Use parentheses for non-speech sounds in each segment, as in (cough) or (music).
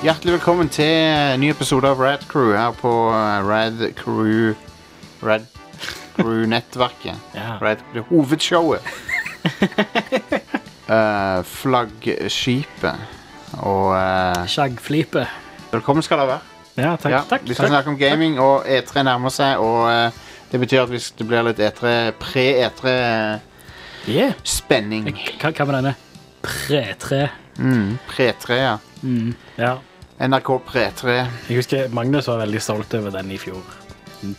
Hjertelig velkommen til en ny episode av Rad Crew her på eh, Rad Crew Rad (laughs) Crew-nettverket. Ja. Rad det er (laughs) Hovedshowet. Eh, flaggskipet. Og eh, Skjeggflipe. velkommen skal dere være. Ja, takk. Ja, takk, vi skal takk. snakke om gaming, og E3 nærmer seg. Og eh, det betyr at hvis det blir litt E E3 pre-E3-spenning Yeah. Hva, hva med denne? Pre-tre. mm, Pre-3, ja. Mm. Ja. NRK Pre-3. Jeg husker Magnus var veldig stolt over den i fjor.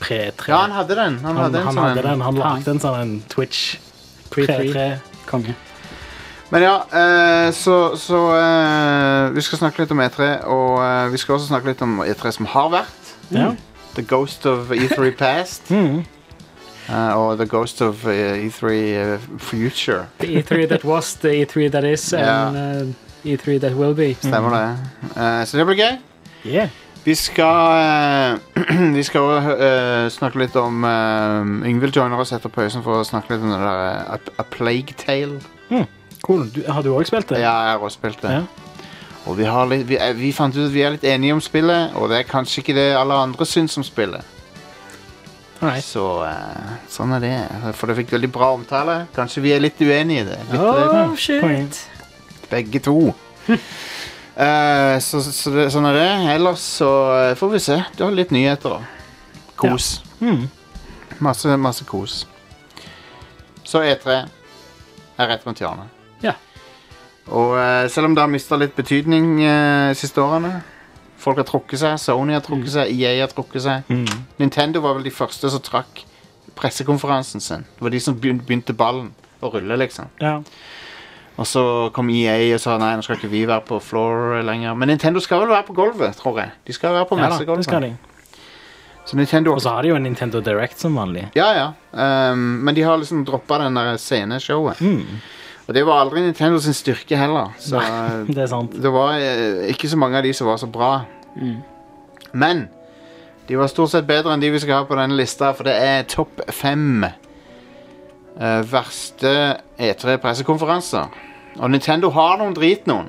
Pre-tre. Ja, han hadde den. Han, han, hadde en han sånn hadde en. den. Han lagde en sånn en Twitch. Pre-tre. Konge. Men ja, eh, så, så eh, Vi skal snakke litt om E3, og eh, vi skal også snakke litt om E3 som har vært. Ja. Mm. The Ghost of (laughs) E3 Past. Mm. eh, og The Ghost of eh, E3 Future. The E3 that was, the E3 that is, and uh, E3 that will be. Mm. Stemmer det? Eh, så det blir gøy. Yeah. Vi skal eh, (clears throat) Vi skal også, eh, snakke litt om eh, Yngvild joiner oss etter pausen for å snakke litt om det der eh, A, A Plague Tale. Cool. Du, har du òg spilt det? Ja, jeg har også spilt det. Ja. Og vi, har litt, vi, er- vi fant ut at vi er litt enige om spillet, og det er kanskje ikke det alle andre syns om spillet. Alright. Så eh, sånn er det. For det fikk veldig bra omtale. Kanskje vi er litt uenige i det. Litt, eh, Oh, Poeng. shit! begge to. Eh, så så det, sånn er det. Ellers så eh, får vi se. Du har litt nyheter. da. Kos. Mm. Masse, masse kos. Så E3 er rett rundt hjørnet. Ja. Og eh, selv om det har mista litt betydning eh, de siste årene Folk har trukket seg, Sony har trukket seg, EA har trukket seg. Mm. Nintendo var vel de første som trakk pressekonferansen sin. Det var de som begyn- begynte ballen å rulle, liksom. Ja. Og så kom EA og sa nei, nå skal ikke vi være på floor lenger. Men Nintendo skal vel være på gulvet, tror jeg. De skal være på ja da, det skal messegulvet. de. så Nintendo Og så har de jo en Nintendo Direct som vanlig. Ja, ja. Ehm, men de har liksom droppa den der sceneshowet. Mm. Og det var aldri Nintendo sin styrke heller. Så eh, (laughs) Det er sant. det var eh, ikke så mange av de som var så bra. Mm. Men de var stort sett bedre enn de vi skal ha på denne lista, for det er topp fem eh, verste E3-pressekonferanser. Og Nintendo har noen drit noen.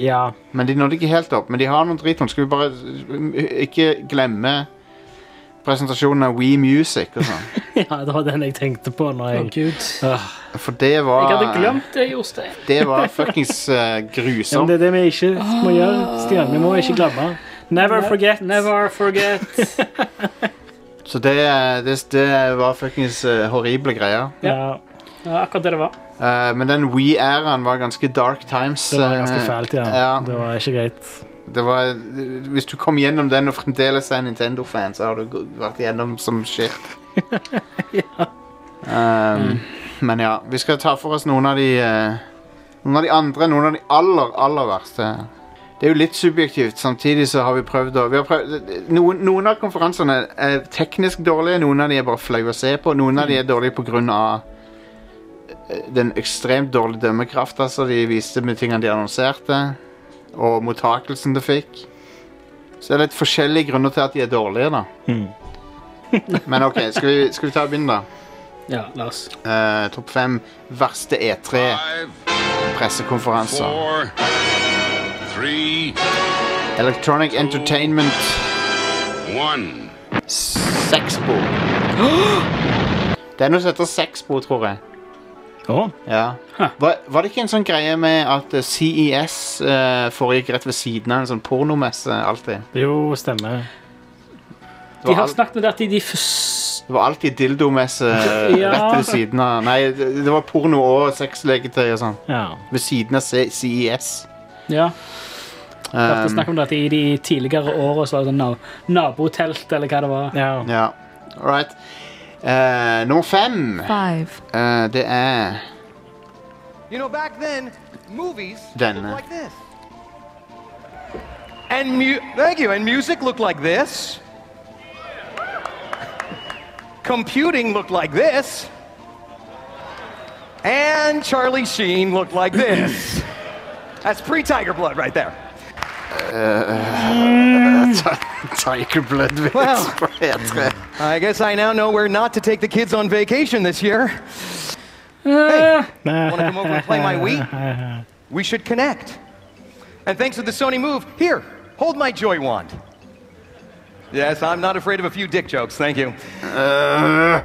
Ja. Men de nådde ikke helt opp. Men de har noen drit noen. Skal vi bare eh, ikke glemme presentasjonen av We Music og sånn? (laughs) ja, det var den jeg tenkte på når Å, jeg Gud. Åh. For det var Jeg hadde glemt det, Jostein. (laughs) Det var fuckings eh, (laughs) Ja, men grusomt. det er det vi ikke må gjøre, Stian. Vi må ikke glemme. Never forget. Never (laughs) forget. Så det, eh, det, det var fuckings eh, horrible greier. Ja, Ja, akkurat det det var. Eh, men den We-æraen var ganske dark times. det var ganske eh, fælt, ja. ja. Det var ikke greit. det var, hvis du kom gjennom den og fremdeles er Nintendo-fan, så har du gå- vært gjennom som shit. um, Men ja, vi skal ta for oss noen av de eh, Noen av de andre, noen av de aller, aller verste. Det er jo litt subjektivt. Samtidig så har vi prøvd å vi har prøvd, noen, noen av konferansene er teknisk dårlige, noen av de er bare flaue å se på, noen av de er dårlige pga. den ekstremt dårlige dømmekrafta som de viste med tingene de annonserte og mottakelsen det fikk. Så det er litt forskjellige grunner til at de er dårlige, da. Mm. (laughs) Men OK, skal vi, skal vi ta og begynne, da? Ja, la oss. Eh, Topp fem verste E Five, Altså. E3-pressekonferanser. four, three, Electronic Entertainment one. Sexpo. (gasps) Det er noe som heter Sexpo, tror jeg. Å, Ja. Var, var det ikke en sånn greie med at eh, CES eh, foregikk rett ved siden av en sånn pornomesse alltid? det jo stemmer. Det De var har alt- snakket om det at de, de først... Det var alltid dildomesse eh, Ja. rett ved siden av. Nei, det det var porno og sexleketøy og sånn. Ja. Ved siden av C- E CES. Ja, det har vært Um, snakk om det at i de tidligere årene så var det sånn na- nabotelt, eller hva det var. ja. ja, all right. Eh, nummer fem, Five. eh, det er (laughs) You know, back then, movies Then, uh, looked like this. And mu- thank you. And music looked like this. Computing looked like this. And Charlie Sheen looked (laughs) like this. That's pre-Tiger Blood right there. Tiger Blood Wow. Wits på E3. I guess I now know where not to take the kids on vacation this year. Nei. Want to come over and play my Wii? We should connect. And thanks to the Sony Move, here, Hold my joy wand. Yes, I'm not afraid of a few dick jokes. Thank you. Øh.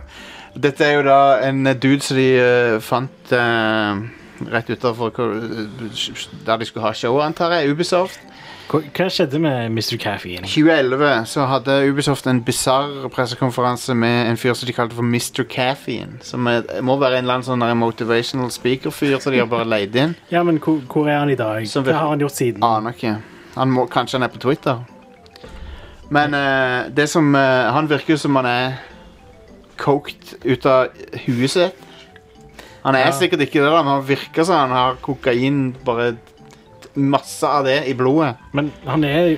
Dette er jo da en eh, dude som de eh, fant eh, rett utafor der de skulle ha showet, antar jeg. Ubisoft. Hva, hva skjedde med Mr. Caffeine? 2011 så hadde Ubisoft en bisarr pressekonferanse med en fyr som de kalte for Mr. Caffeine. Som er, må være en eller annen sånn der motivational speaker-fyr som de har bare leid inn. Ja, men hvor, hvor er han i dag? Som vi- Hva har han gjort siden? Aner ikke. Han må, kanskje han er på Twitter. Men eh, det som eh, Han virker jo som han er coked ut av huet sitt. Han er Ja. sikkert ikke det, da, men han virker som han har kokain bare Masse av det i blodet. Men han er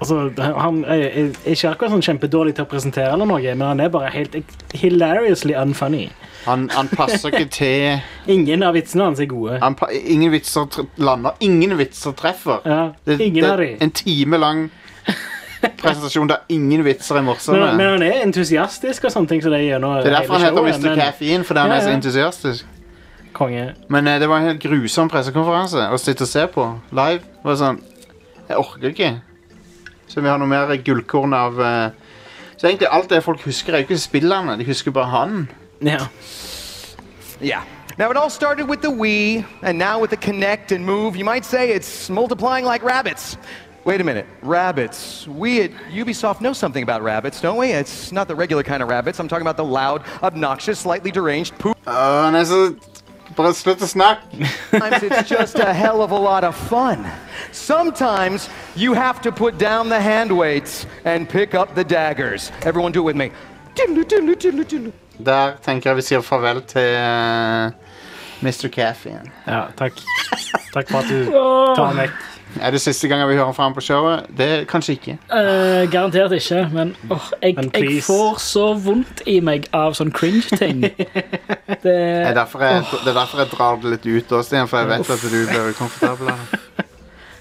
Altså, han er, er er ikke akkurat sånn kjempedårlig til å presentere eller noe, men han er bare helt ek- hilariously unfunny. Han, han passer ikke til Ingen av vitsene hans er gode. han, pa- Ingen vitser tr- lander. Ingen vitser treffer. Ja, ingen av de. En time lang presentasjon der ingen vitser er Men, men morsomme. han er entusiastisk og sånne ting. som Det er gjennom Det er derfor han hele heter showet, Mr. Caffeine, fordi han Ja, er så ja. entusiastisk. Men, konge. Men eh, det var en helt grusom pressekonferanse å sitte og se på live. Det var sånn, Jeg orker ikke. Så vi har noe mer gullkorn av eh, Så egentlig alt det folk husker, er jo ikke spillene. De husker bare han. Ja. Yeah. Now, it all started with the Wii, and now with the Connect and Move, you might say it's multiplying like rabbits. Wait a minute, rabbits. We at Ubisoft know something about rabbits, don't we? It's not the regular kind of rabbits. I'm talking about the loud, obnoxious, slightly deranged poop. Åh, han er så Bare slutt å snakke. Sometimes it's just a hell of a lot of fun. Sometimes you have to put down the hand weights and pick up the daggers. Everyone do it with me. Doodle, doodle, doodle, doodle. Der tenker jeg vi sier farvel til eh, Mr. Caffeine. ja, takk. Takk for at (laughs) du tar han vekk. Er det siste gangen vi hører fra ham på showet? Det Kanskje ikke. Eh, garantert ikke, men åh, jeg, Men jeg please. får så vondt i meg av sånn cringe-ting. Det Det er derfor jeg, det er derfor jeg drar det litt ut også, Stian, for jeg vet at du blir ukomfortabel. av det.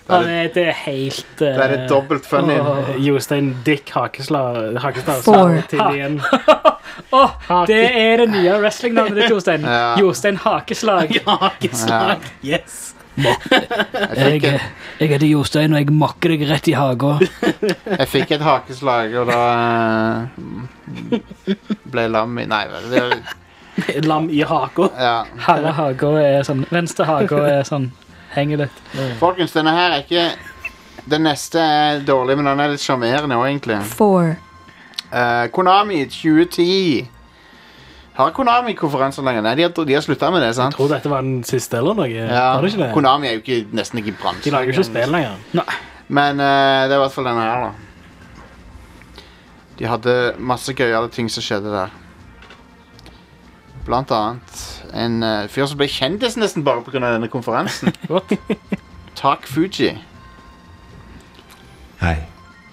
Da Ja, er det, det, det er helt da er det dobbelt funny. Eh, Jostein Dick Hakesla- Hakestad sa Four. til igjen. Det er det nye wrestlingnavnet ditt, Jostein. Ja. Jostein Hakeslag. Hakeslag. (laughs) Yes. Jeg fikk, et, heter Jostein, og jeg makker deg rett i haga. jeg fikk et hakeslag, og da eh, ble jeg lam i Nei, vel, det, Lam i haka. ja. Harde haga er sånn Venstre haga er sånn Henger litt. Folkens, denne her er ikke Den neste er dårlig, men den er litt sjarmerende òg, egentlig. four, Eh, Konami 2010. Har Konami konferanser lenger? Nei, de har, de har slutta med det, sant? Tror dette var den siste eller noe. Ja. Var det ikke det? Konami er jo ikke, nesten ikke i De bransjen. lager jo ikke spill lenger. Men eh, det er i hvert fall denne her, da. De hadde masse gøyale ting som skjedde der. Blant annet en eh, fyr som ble kjendis nesten bare pga. denne (laughs) konferansen. Tak Fuji. Hei.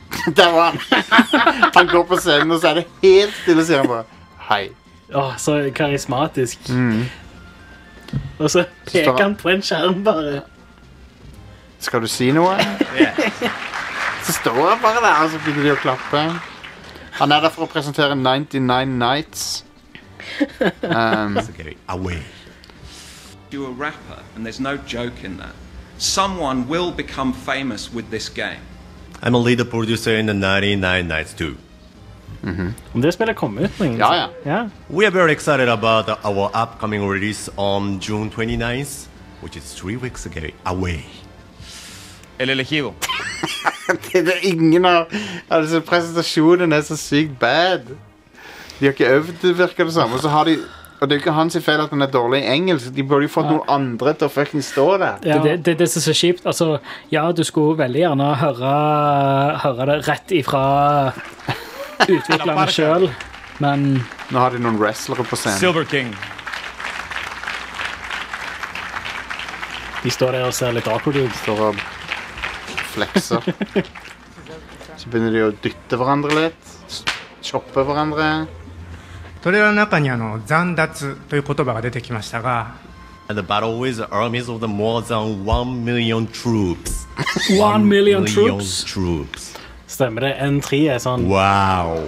(laughs) Der var han! han (laughs) går på scenen, og så er det helt stille, sier han bare. Hei. Åh, så karismatisk. Mm. Og så Står peker han- han på en skjerm, bare. Skal du si noe? så står han bare der, og så begynner de å klappe. Han er der for å presentere 99 Nights. (laughs) Um, Så gøy. Away. you a rapper, and there's no joke in that. Someone will become famous with this game. I'm a leader producer in the 99 Nights 2. Om det spillet kom ut lenge ja, ja. Ja. We are very excited about our upcoming release on June 29th, which is three weeks ago. Away. El elegido. Det er ingen av Altså, presentasjonen er så sykt bad. De har ikke øvd, det virker det samme. Og så har de Og det er jo ikke hans feil at han er dårlig i engelsk. De burde jo fått noen andre til å fucking stå der. Det, det, det, det som er så kjipt. Altså, ja, du skulle veldig gjerne høre, høre det rett ifra utviklerne sjøl, men Nå har de noen wrestlere på scenen. Silver King. De står der og ser litt awkward ut. Står og flekser. Så begynner de å dytte hverandre litt. s- Choppe hverandre. トレーラーの中にあの残奪という言葉が出てきましたが And the battle with the armies of the more than 1 million troops. One million Million troops. troops. Stemmer det? N3 er sånn Wow.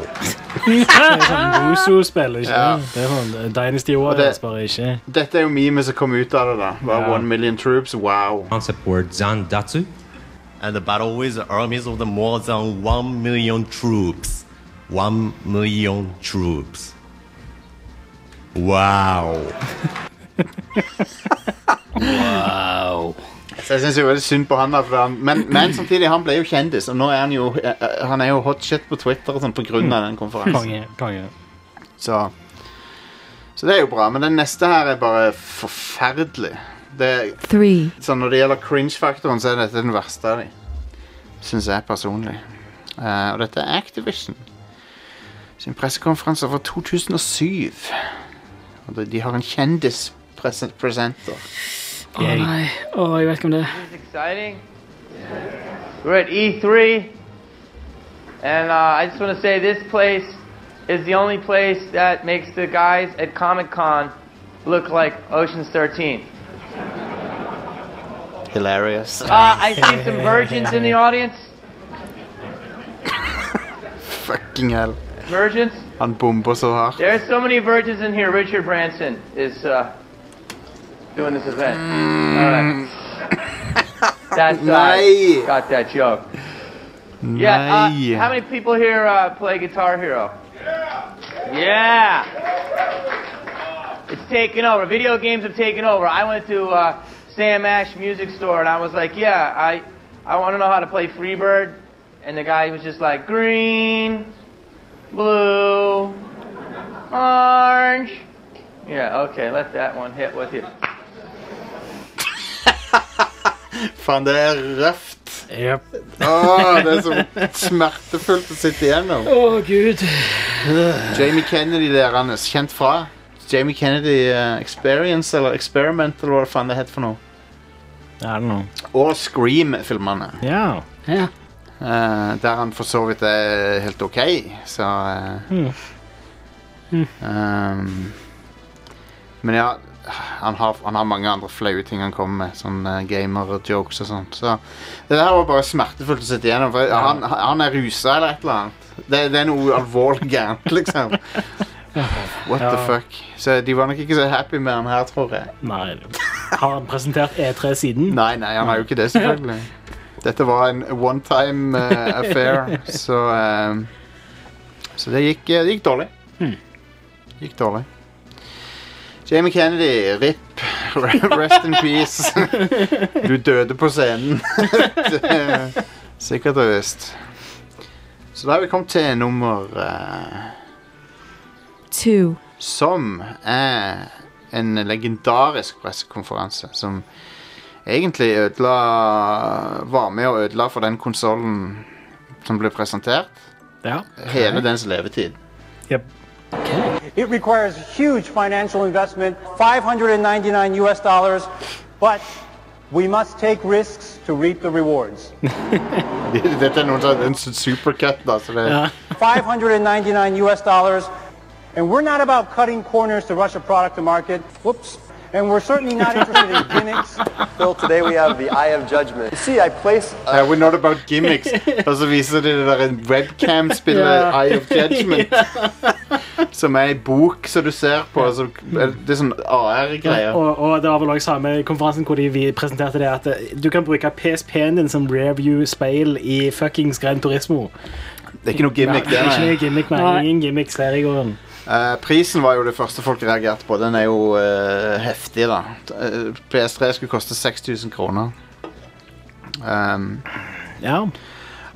(laughs) Wuzu-spill, ikke Ja. det? Det er sånn Dynasty det- Warriors, bare ikke. Dette er jo memet som kom ut av det, da. Bare Ja. One million troops. Wow. concept word zandatsu and the battle with armies of the more than 1 million troops. 1 million troops. Wow. Så jeg synes jo veldig synd på han da, for han, men, men samtidig, han ble jo kjendis, og nå er han jo, eh, eh, han er jo hot shit på Twitter og sånn på grunn av den konferansen. Konge. konge. Så, så det er jo bra, men den neste her er bare forferdelig. Det, three, så når det gjelder cringe-faktoren, så er dette den verste av de. Synes jeg personlig. Eh, og dette er Activision. Sin pressekonferanse fra 2007. Og de, de har en kjendis-presenter. Å nei. Å, jeg vet ikke om det exciting. We're at E3, and uh, I just want to say this place is the only place that makes the guys at Comic Con look like Ocean's 13. Hilarious. Uh, I see some virgins in the audience. Fucking hell. Virgins? Han bomber så hardt. There are so many virgins in here. Richard Branson is uh, doing this event. All right. That's uh, Nei. got that joke. Yeah. Uh, Nei. how many people here uh, play Guitar Hero? Yeah. Yeah. It's taken over. Video games have taken over. I went to uh, Sam Ash Music Store and I was like, "Yeah, I, I want to know how to play Freebird," and the guy was just like, "Green, blue, orange." Yeah. Okay. Let that one hit with you. Faen, det er røft. Yep. Åh, Ah, det er så smertefullt å sitte igjennom. Å, gud. Jamie Kennedy der, Anders. Kjent fra Jamie Kennedy eh, Experience, eller Experiment, eller hva faen det heter for noe. I don't know. Og Scream-filmene. Ja. Ja. eh, der han for så vidt er helt OK, så eh, Mm. ehm, Men ja, han har, han har mange andre flaue ting han kommer med, sånn eh, gamer-jokes og sånt. Så det der var bare smertefullt å sitte igjennom. For han, han er rusa eller et eller annet. Det, det er noe alvorlig gærent, liksom. What the (laughs) Ja. fuck. Så de var nok ikke så happy med han her, tror jeg. Nei. Har han presentert E3 siden? Nei, nei, han er jo ikke det, selvfølgelig. Dette var en one time eh, affair, så eh, Så det gikk, eh, det gikk dårlig. Gikk dårlig. Jamie Kennedy, RIP. (laughs) Rest in peace. Du døde på scenen. (laughs) Det er Sikkert og visst. Så da har vi kommet til nummer eh, two, som er en legendarisk pressekonferanse som egentlig ødela Var med og ødela for den konsollen som ble presentert. Ja. Hele dens levetid. (laughs) Yep. It requires huge financial investment, 599 US dollars, but we must take risks to reap the rewards. Dette er noen som en supercut, da. Så det, 599 US dollars, and we're not about cutting corners to rush a product to market. Whoops. And we're certainly not interested in gimmicks. Bill, today we have the eye of judgment. See, I place Eh, we're not about (laughs) gimmicks. Og så viser de det der webcam-spillet Ja. Eye of (laughs) Judgment. Som er ei bok som du ser på. og så- det er sånn AR-greier. Og, og det var vel også samme konferansen hvor de vi- presenterte det at eh, du kan bruke PSP-en din som review-speil i fuckings Gran Turismo. Det er ikke noe gimmick. Nei, det, nei. ikke noe gimmick, nei. Nei. Ingen gimmicks der i gården. Eh, prisen var jo det første folk reagerte på. Den er jo eh, heftig, da. Eh, PS3 skulle koste 6000 kroner. Ehm, Ja.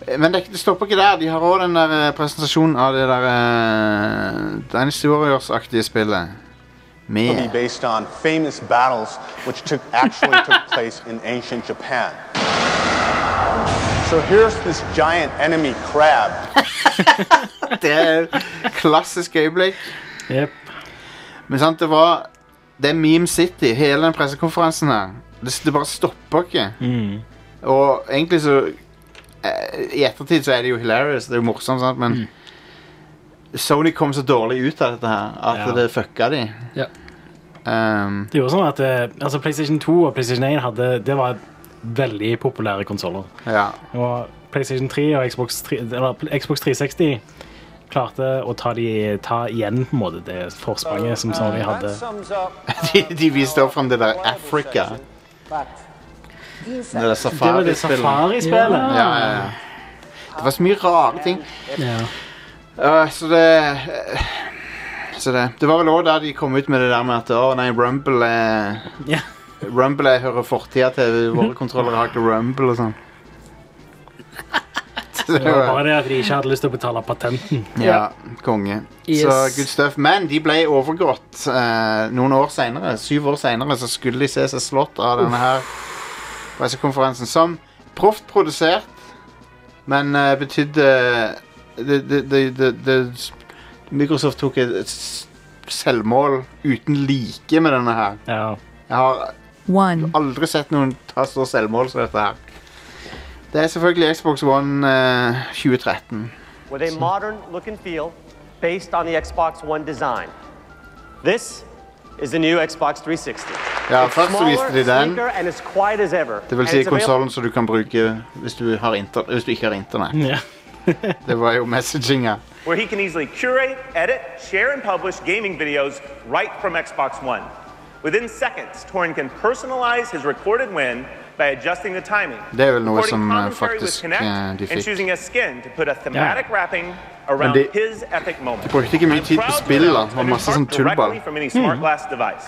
Eh, men det, det stopper ikke der. De har òg den der eh, presentasjonen av det der uh, Dynasty Warriors-aktige spillet. Med based on famous battles which took actually took place in ancient Japan. So here's this giant enemy crab. (laughs) Det er klassisk øyeblikk. Yep. Men sant, det var Det er Meme City, hele den pressekonferansen her. Det, det bare stopper ikke. Og egentlig så eh, I ettertid så er det jo hilarious, det er jo morsomt, sant, men Sony kom så dårlig ut av dette her at Ja. det fucka de. Ja. Ehm, Det gjorde sånn at eh, altså PlayStation 2 og PlayStation 1 hadde, det var veldig populære konsoller. ja. (laughs) Og PlayStation 3 og Xbox, 3, eller Xbox 360 klarte å ta, de, ta igjen på en måte det forspranget som Sony hadde. Uh, sums up De, de viste opp fram det der Africa. Det der Det var det safarispillet. Safari-spillet. Ja, ja, ja. Det var så mye rare ting. Ja. Ja, så det eh, Så det. Det var vel òg der de kom ut med det der med at å nei, Rumble er Ja. Rumble jeg hører fortida til. Våre kontrollere har ikke Rumble og sånn. Så Det det var var- bare det at de ikke hadde lyst til å betale patenten. Ja, konge. Så Yes. good stuff. Men de ble overgått eh, noen år senere. Syv år senere så skulle de se seg slått av denne her pressekonferansen. Som proft produsert, men eh, betydde det, det, det, det, det, Microsoft tok et et s- selvmål uten like med denne her. Ja. Jeg har one, aldri sett noen ta så selvmål som dette her. Det er selvfølgelig Xbox One eh, 2013. with a modern look and feel based on the Xbox One design. This is the new Xbox 360. Ja, it's først så smaller, viste de den. sleeker, and as quiet as ever. Det vil And si it's available- konsollen som du kan bruke hvis du, har inter hvis du ikke har internett. Ja. (laughs) det var jo messaginga. where he can easily curate, edit, share, and publish gaming videos right from Xbox One. Within seconds, Torin can personalize his recorded win by adjusting the timing, Det er vel noe recording som eh, commentary with faktisk eh, Kinect, de and fikk. choosing a skin to put a thematic wrapping around det- his epic moment. de brukte ikke mye I'm tid på proud to spill, da. Det announce var a new masse part sånn tullball. directly From any smart glass device.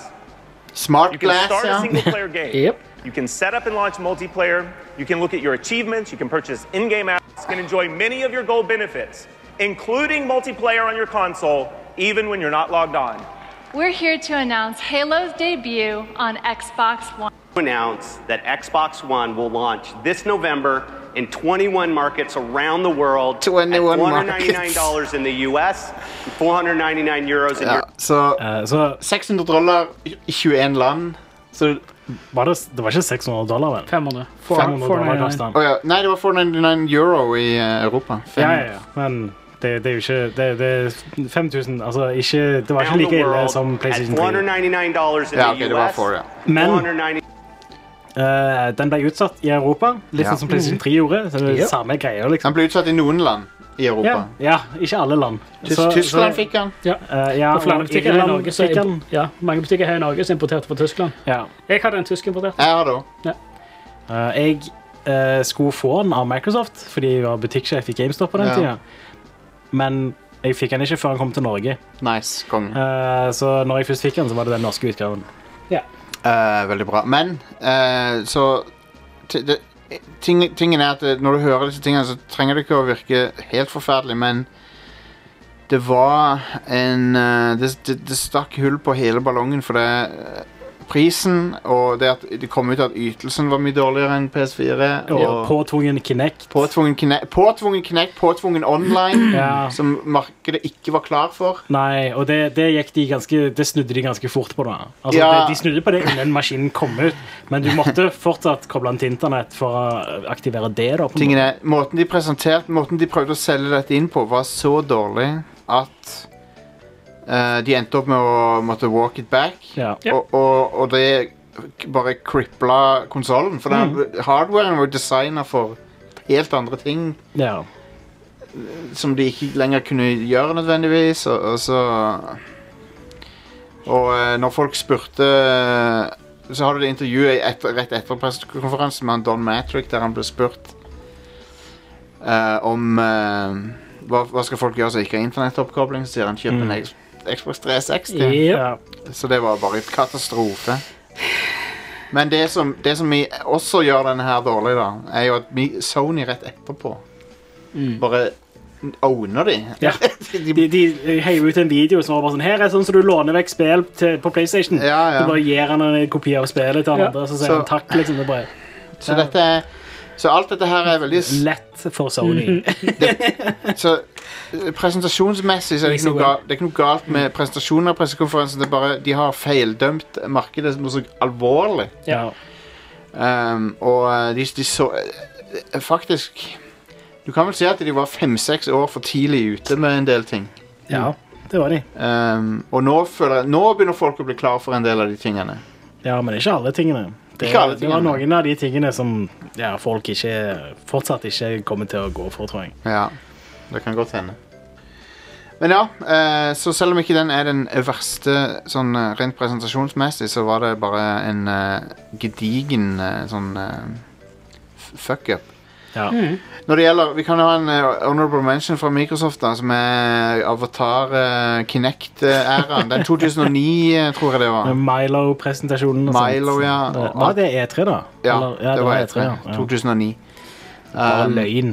Smart You can glass, start a ja. single player game. Yep. You can set up and launch multiplayer. You can look at your achievements. You can purchase in game apps. You can enjoy many of your goal benefits, including multiplayer on your console, even when you're not logged on. We're here to announce Halo's debut on Xbox One. To announce that Xbox One will launch this November in 21 markets around the world. 21 at $499 in the US, and 499 euros in ja. Europe. Så eh, 600 dollar i 21 land. Så Var det, det var ikke 600 dollar, vel? 500. 500 dollar kostet Å den. ja. Nei, det var 499 euro i eh, Europa. Fem- Ja, ja, ja. Men det, det er jo ikke Det, det er 5000 Altså, ikke, det var ikke Around like the ille world som at uh, PlayStation 3. $499 in Ja, the ok, det var US, for, ja. Men- 490 Eh, den ble utsatt i Europa, litt Ja. sånn som PlayStation 3 gjorde. Så det er Ja. samme greier, Den liksom. ble utsatt i noen land i Ja, Europa. ja, ikke alle land. Tys Tyskland fikk den. Ja. Eh, ja, og flere og butikker her i Irland Norge som fikk den. ja, mange butikker her i Norge som er importert fra Tyskland. Ja. Jeg hadde en tysk importert. Jeg har det òg. Eh, jeg eh, skulle få den av Microsoft, fordi jeg var butikksjef i GameStop på den Ja. tiden. Men jeg fikk den ikke før den kom til Norge. Nice. Konge. Eh, så når jeg først fikk den, så var det den norske utgaven. Eh, veldig bra. Men eh, så ti- det, ting, Tingen er at eh, når du hører disse tingene, så trenger det ikke å virke helt forferdelig, men det var en eh, det, det, det stakk hull på hele ballongen, for det eh, Prisen og det at det kom ut at ytelsen var mye dårligere enn PS4. Og påtvungen Kinect. Påtvungen Kinect, påtvungen, Kinect, påtvungen online, Ja. som markedet ikke var klar for. Nei, og det, det, gikk de ganske, det snudde de ganske fort på. da. Altså, Ja. de, de snudde på det innen maskinen kom ut, men du måtte fortsatt koble den til internett for å aktivere det. da. på en Tingen måte. er, måten de presenterte, måten de prøvde å selge dette inn på, var så dårlig at eh, de endte opp med å måtte walk it back. Og, og, og det bare kripla konsollen. For den, hardwaren var jo designa for helt andre ting Ja. som de ikke lenger kunne gjøre nødvendigvis, og, og så Og eh, når folk spurte eh, Så hadde det intervjuet etter, rett etter pressekonferansen med han Don Matrick, der han ble spurt eh, om eh, hva, hva skal folk gjøre som ikke har internettoppkobling, så sier han kjøp en Mm. X- Xbox 360. Yep. Ja. Så det var bare et katastrofe. Men det som, det som vi også gjør denne her dårlig, da, er jo at vi Sony rett etterpå bare owner (laughs) de. Ja. De, de heier ut en video som var bare sånn Her er sånn som du låner vekk spill til, på PlayStation. Ja, ja. Du bare gir han en kopi av spillet til han Ja. andre, så sier Så- han takk. liksom. Det er bare Så, dette er, så alt dette her er veldig s- lett for Sony. Mhm. så, eh, Presentasjonsmessig så er det ikke, noe galt, det er ikke noe galt med presentasjonen av pressekonferansen. Det er bare de har feildømt markedet noe så alvorlig. Ja. Um, og eh, de, de så eh, Faktisk Du kan vel si at de var fem-seks år for tidlig ute med en del ting. ja, det var de. Um, og nå, føler jeg, nå begynner folk å bli klar for en del av de tingene. Ja, men ikke alle tingene. Det, Ikke alle det var tingene. noen av de tingene som ja, folk ikke, fortsatt ikke kommer til å gå for, tror jeg. Ja, det kan godt hende. Men ja, eh, så selv om ikke den er den verste sånn eh, rent presentasjonsmessig, så var det bare en eh, gedigen eh, sånn eh, f- fuck up. Ja. Mm. Når det gjelder, Vi kan jo ha en eh, honorable mention fra Microsoft, da, som er Avatar eh, Kinect-æraen. Den 2009, eh, tror jeg det var. Med Milo-presentasjonen. og sånt. Milo, ja. Det, var det E3, da? Ja, Eller- det, var E3. ja. 2009. Bare Um, løgn.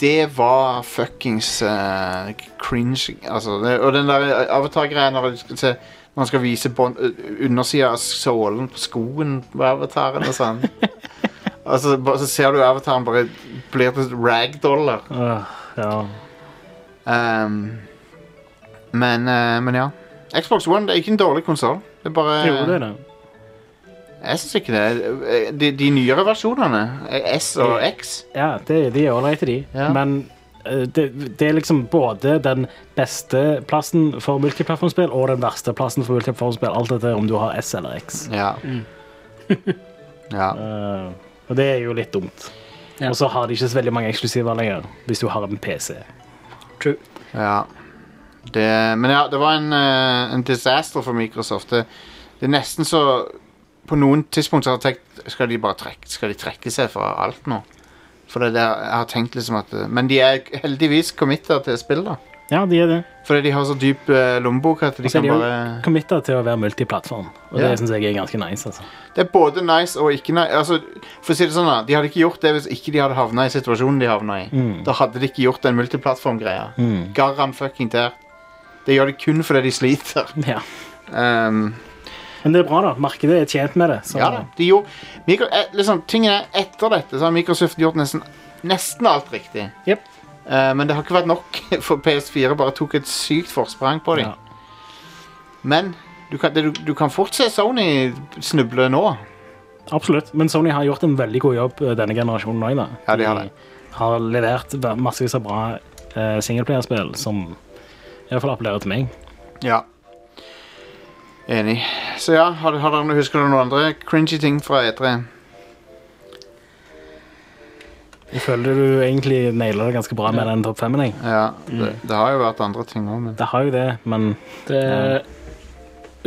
det var fuckings eh, cringe. Altså, det, og den der avatar-greia når, du skal se- når man skal vise bånd- ø- undersida av sålen på skoen på avataren og sånn. altså, bare, så ser du avataren bare blir til ragdoller. Åh, ja. Um, men, eh, men ja. Xbox One det er ikke en dårlig konsoll. Det er bare Jo, det er det. Jeg syns ikke det. Eh, De, de nyere versjonene, eh, S og X Ja, det, de er ålreite, de. Men eh, det, det er liksom både den beste plassen for multiplattformspill og den verste plassen for multiplattformspill. Alt etter om du har S eller X. Ja. Mm. (laughs) ja. og det er jo litt dumt. Og så har de ikke så veldig mange eksklusiver lenger, hvis du har en PC. True. Ja. Det, men ja, det var en, eh, en disaster for Microsoft. Det, det er nesten så På noen tidspunkt så har jeg tenkt Skal de bare trekke, skal de trekke seg fra alt nå? For det er det jeg har tenkt liksom at eh, Men de er heldigvis committa til spill, da. Ja, de er det. Fordi de har så dyp eh, lommebok at Og de så er kan de jo bare committet til å være multiplattform, og Ja. det syns jeg er ganske nice. altså. Det er både nice og ikke nice. Altså, for å si det sånn da, De hadde ikke gjort det hvis ikke de hadde havna i situasjonen de havna i. Mm. Da hadde de ikke gjort den multiplattformgreia. Mm. Garan fucking der. Det gjør de kun fordi de sliter. (laughs) (laughs) Ja. Um, Men det er bra, da. Markedet er tjent med det. så- ja da, de gjorde Mikro, eh, liksom, Tingen er etter dette så har Microsoft gjort nesten, nesten alt riktig. Eh, men det har ikke vært nok, (laughs) for PS4 bare tok et sykt forsprang på dem. Men du kan, det, du, du kan fort se Sony snuble nå. Absolutt. Men Sony har gjort en veldig god jobb eh, denne generasjonen òg. Ja, de har det. har levert ve- massevis av bra uh, singelplayerspill som iallfall appellerer til meg. Ja. Enig. Så ja, har, har dere, husker dere noen andre cringy ting fra E E3? Jeg føler du egentlig nailer det ganske bra med den topp femmen. jeg. Ja, det, det har jo vært andre ting òg, men (laughs) Det har jo det, men Det, eh,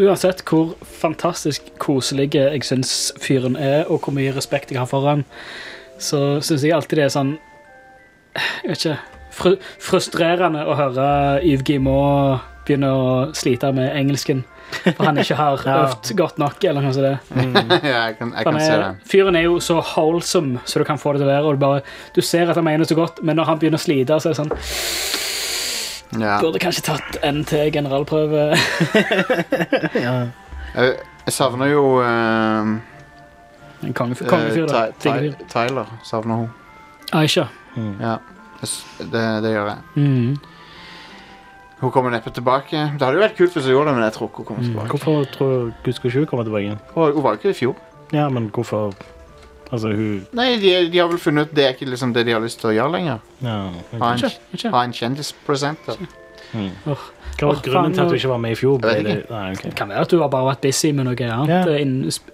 uansett hvor fantastisk koselig jeg syns fyren er, og hvor mye respekt jeg har for han, så syns jeg alltid det er sånn Jeg vet ikke fru, Frustrerende å høre Yves Guillemot begynne å slite med engelsken. For han ikke har (laughs) Ja. øvd godt nok, eller noe sånt. Ja, jeg kan, jeg Han kan se er, det. fyren er jo så wholesome så du kan få det til å være. Og du, bare, du ser at han mener det så godt, men når han begynner å slite, så er det sånn Ja. Burde kanskje tatt en til generalprøve. Jeg, jeg savner jo ehm, En kongefyr. kongefyr eh, da. Ty- Ty- Tingefyr. Tyler savner hun. Aisha. Ja, jeg s- det, det gjør jeg. Mhm. Hun kommer neppe tilbake. Det hadde jo vært kult hvis hun gjorde det, men jeg tror ikke hun kommer tilbake. Hvorfor tror du Gud skulle ikke komme tilbake igjen? Hun, hun var jo ikke i fjor. Ja, men hvorfor Altså, hun Nei, de, de har vel funnet ut det er ikke liksom det de har lyst til å gjøre lenger. ja. Ha en, Kanskje, ha en kjendispresenter. Hva var grunnen til at hun ikke var med i fjor? Jeg vet Ble ikke. det- Nei, ok. Det kan være at du har bare vært busy med noe annet. eh, innen sp-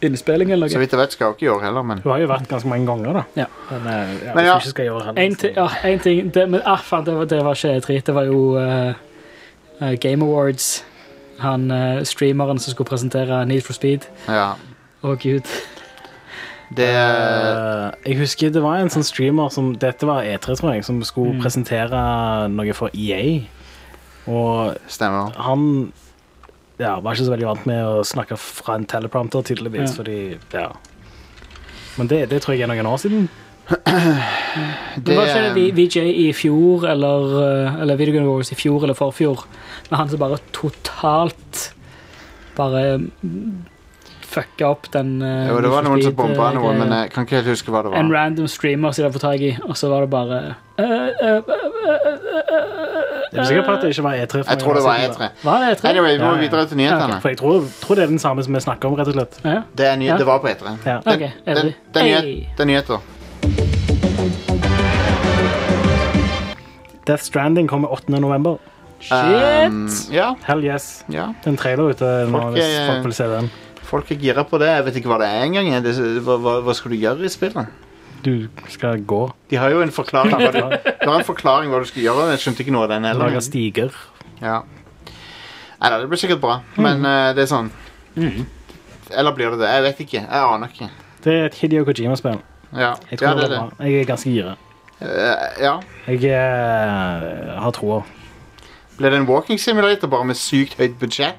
Innspilling eller Så noe. vidt jeg vet skal hun ikke i år heller, men Hun har jo vært ganske mange ganger, da. Ja. Men, eh, ja, Men hvis ja. hun ikke skal gjøre det, En, ti- ja, en ting det, Men ah, faen, det, var, det var ikke E3. Det var jo eh, eh, Game Awards. Han eh, streameren som skulle presentere Need for Speed. ja. Å, gud. Det Eh, jeg husker det var en sånn streamer som Dette var E3, tror jeg, som skulle presentere noe for EA. Og stemmer. han ja, var ikke så veldig vant med å snakke fra en teleprompter, tydeligvis, Ja. fordi Ja. Men det, det tror jeg er noen år siden. Det var ikke det vi- VJ i fjor, eller, eh, eller Video Game Awards i fjor eller forfjor, men han som bare totalt bare mm, fucka opp den eh, Jo, det var Need for noen som Speed, bomba eh, noe, greia. men jeg kan ikke helt huske hva det En var. random streamer som de hadde fått tak i, og så var det bare Jeg er sikker på at det ikke var E3. for Jeg noen tror det år var E siden, E3. da. Var det E3? Anyway, vi må Ja, ja. videre til Ja, nyhetene. ok, For jeg tror, tror det er den samme som vi snakker om, rett og slett. Ja. Det, er ny Ja. det var på E E3. Ja. Det, Ok, det, er det det, de? er nyhet- Hey. det er nyheter. Death Stranding kommer 8. november. Um, ja, Hell yes. ja. Det er en trailer ute nå Folk hvis er- folk vil se den. Folk er gira på det. Jeg vet ikke hva det er engang. jeg. Det- Hva, hva, hva skal du gjøre i spillet? Du skal gå. De har jo en forklaring (laughs) hva du, det var en forklaring hva du skal gjøre. Jeg skjønte ikke noe av den heller. Lage stiger. Ja. Neida, det blir sikkert bra, Mm. men eh, det er sånn Eller blir det det? Jeg vet ikke. Jeg aner ikke. Det er et Hidio Kojima-spill. Ja, Jeg tror ja det er det det. blir bra. Jeg er ganske gira. Eh, ja. Jeg eh, har troa. Blir det en walking simulator bare med sykt høyt budsjett?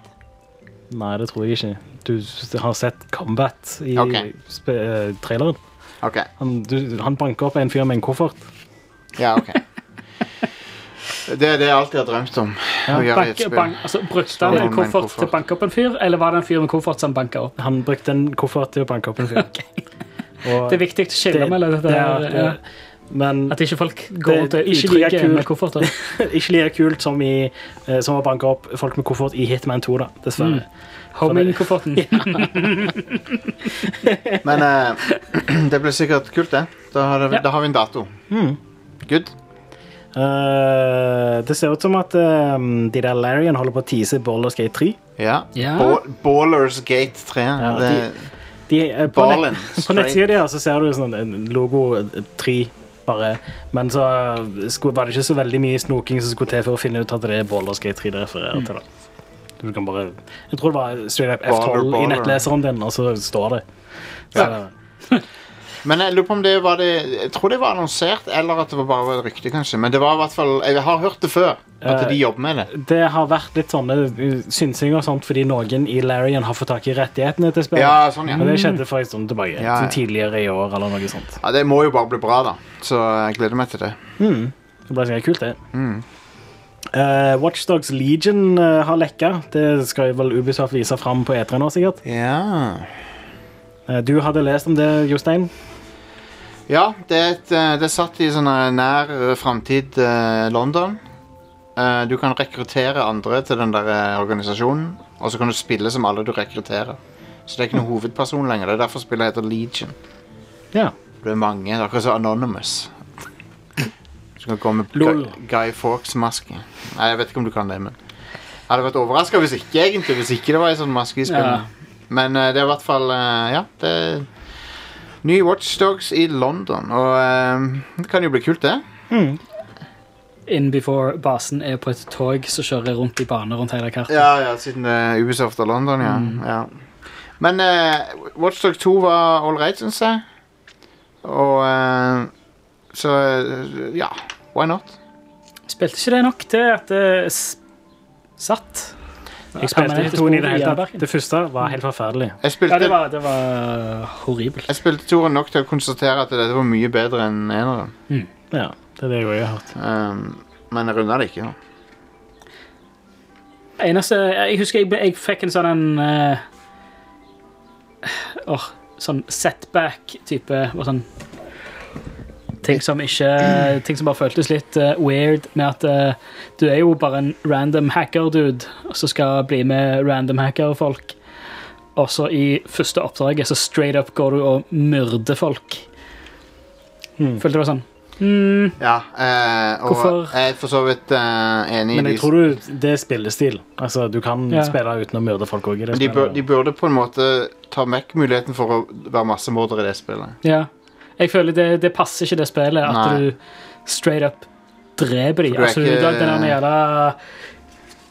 Nei, det tror jeg ikke. Du s- har sett Combat i Ok. sp- eh, traileren. Ok. Han, du, han banker opp en fyr med en koffert. Ja, ok. (laughs) Det er det jeg alltid har drømt om. å gjøre i et Bank, spill. bank, altså, brukte han Slå en noen med en koffert til å banke opp en fyr, eller var det en fyr med koffert som banka opp? Han brukte en koffert til å banke opp en fyr. Og Det er viktig å skille det- mellom dette. det her, er- ja. Men At ikke folk går rundt og ikke ikke like liker med kult. kofferter. (laughs) (laughs) ikke like kult som, i, eh, som å banke opp folk med koffert i Hitman 2, da, dessverre. Mm. Homing-kofferten. Men eh, (clears throat) det blir sikkert kult, det. Da har, det, Ja. da har vi en dato. Mm. Good. Eh, det ser ut som at eh, de der Larian holder på å tease Baldur's Gate 3. Ja. Ja. Ba- Ballers Gate 3. Ja, det, de- De, eh, på Ballin, nett, (laughs) på straight. nettsida deres så ser du sånn en logo eh, 3 bare, men så skulle, var det ikke så veldig mye snoking som skulle til for å finne ut at det er Baldur's Gate 3 det refererer til. da. Du kan bare, jeg tror det var straight up F12 Baller, i baller. nettleseren din, og så står det. Så, Ja. Men jeg lurer på om det var det Jeg tror det var annonsert, eller at det var bare et rykte, kanskje. Men det var i hvert fall Jeg har hørt det før, at Eh, de jobber med det. Det har vært litt sånne uh, synsing og sånt fordi noen i Larian har fått tak i rettighetene til spillet. Ja, sånn, ja. Og det skjedde for en stund tilbake. Sånn Ja, ja. Tidligere i år eller noe sånt. Ja, Det må jo bare bli bra, da. Så jeg gleder meg til det. Mm. Det ble sikkert kult, det. Mm. Uh, Watchdogs Legion eh, har lekka. Det skal vel Ubisoft vise fram på E3 nå, sikkert. Eh, du hadde lest om det, Jostein? Ja, det, er et, eh, det er satt i sånn eh, nær framtid London. Eh, Du kan rekruttere andre til den der eh, organisasjonen, og så kan du spille som alle du rekrutterer. Så det er ikke noen hovedperson lenger. Det er derfor spillet heter Legion. Ja. Du er mange. Det er akkurat så Anonymous. Du kan komme med Lol. Guy, Guy Fawkes-maske. Nei, jeg vet ikke om du kan det, men Jeg hadde vært overraska hvis ikke, egentlig. Hvis ikke det var en sånn maske i Ja. spillet. Men eh, det er i hvert fall eh, Ja, det er Ny Watchdogs i London, og eh, det kan jo bli kult, det. In before basen er på et tog som kjører rundt i bane rundt hele kartet. Ja, ja, siden det er Ubisoft og London, ja. Mm. ja. Men uh, Watchdog 2 var all right, syns jeg. Og eh, Så eh, ja, why not? Spilte ikke det nok til at det s- satt? Jeg spilte Permanente ikke toen i det spor hele tatt. jernverket. Det første var helt forferdelig. Jeg spilte, Ja, det var, det var horribelt. jeg spilte toeren nok til å konstatere at dette var mye bedre enn eneren. Ja, det er det jeg også har hørt. Um, men jeg runda det ikke. da. Eneste, jeg husker jeg, ble- jeg fikk en sånn en eh, åh, Sånn setback-type og sånn Ting som ikke Ting som bare føltes litt eh, weird med at eh, du er jo bare en random hacker-dude som skal bli med random hacker-folk. Og så i første oppdraget så straight up går du og myrder folk. Følte det var sånn. Mm, Ja, eh, og Hvorfor? jeg er for så vidt eh, enig Men i jeg de- tror du, det er spillestil. Altså, Du kan Ja. spille uten å myrde folk òg. men de, bur, de burde på en måte ta vekk muligheten for å være massemordere i det spillet. ja. Jeg føler det, det passer ikke det spillet at Nei. du straight up dreper de. For du er Altså, ikke- du tar den der jævla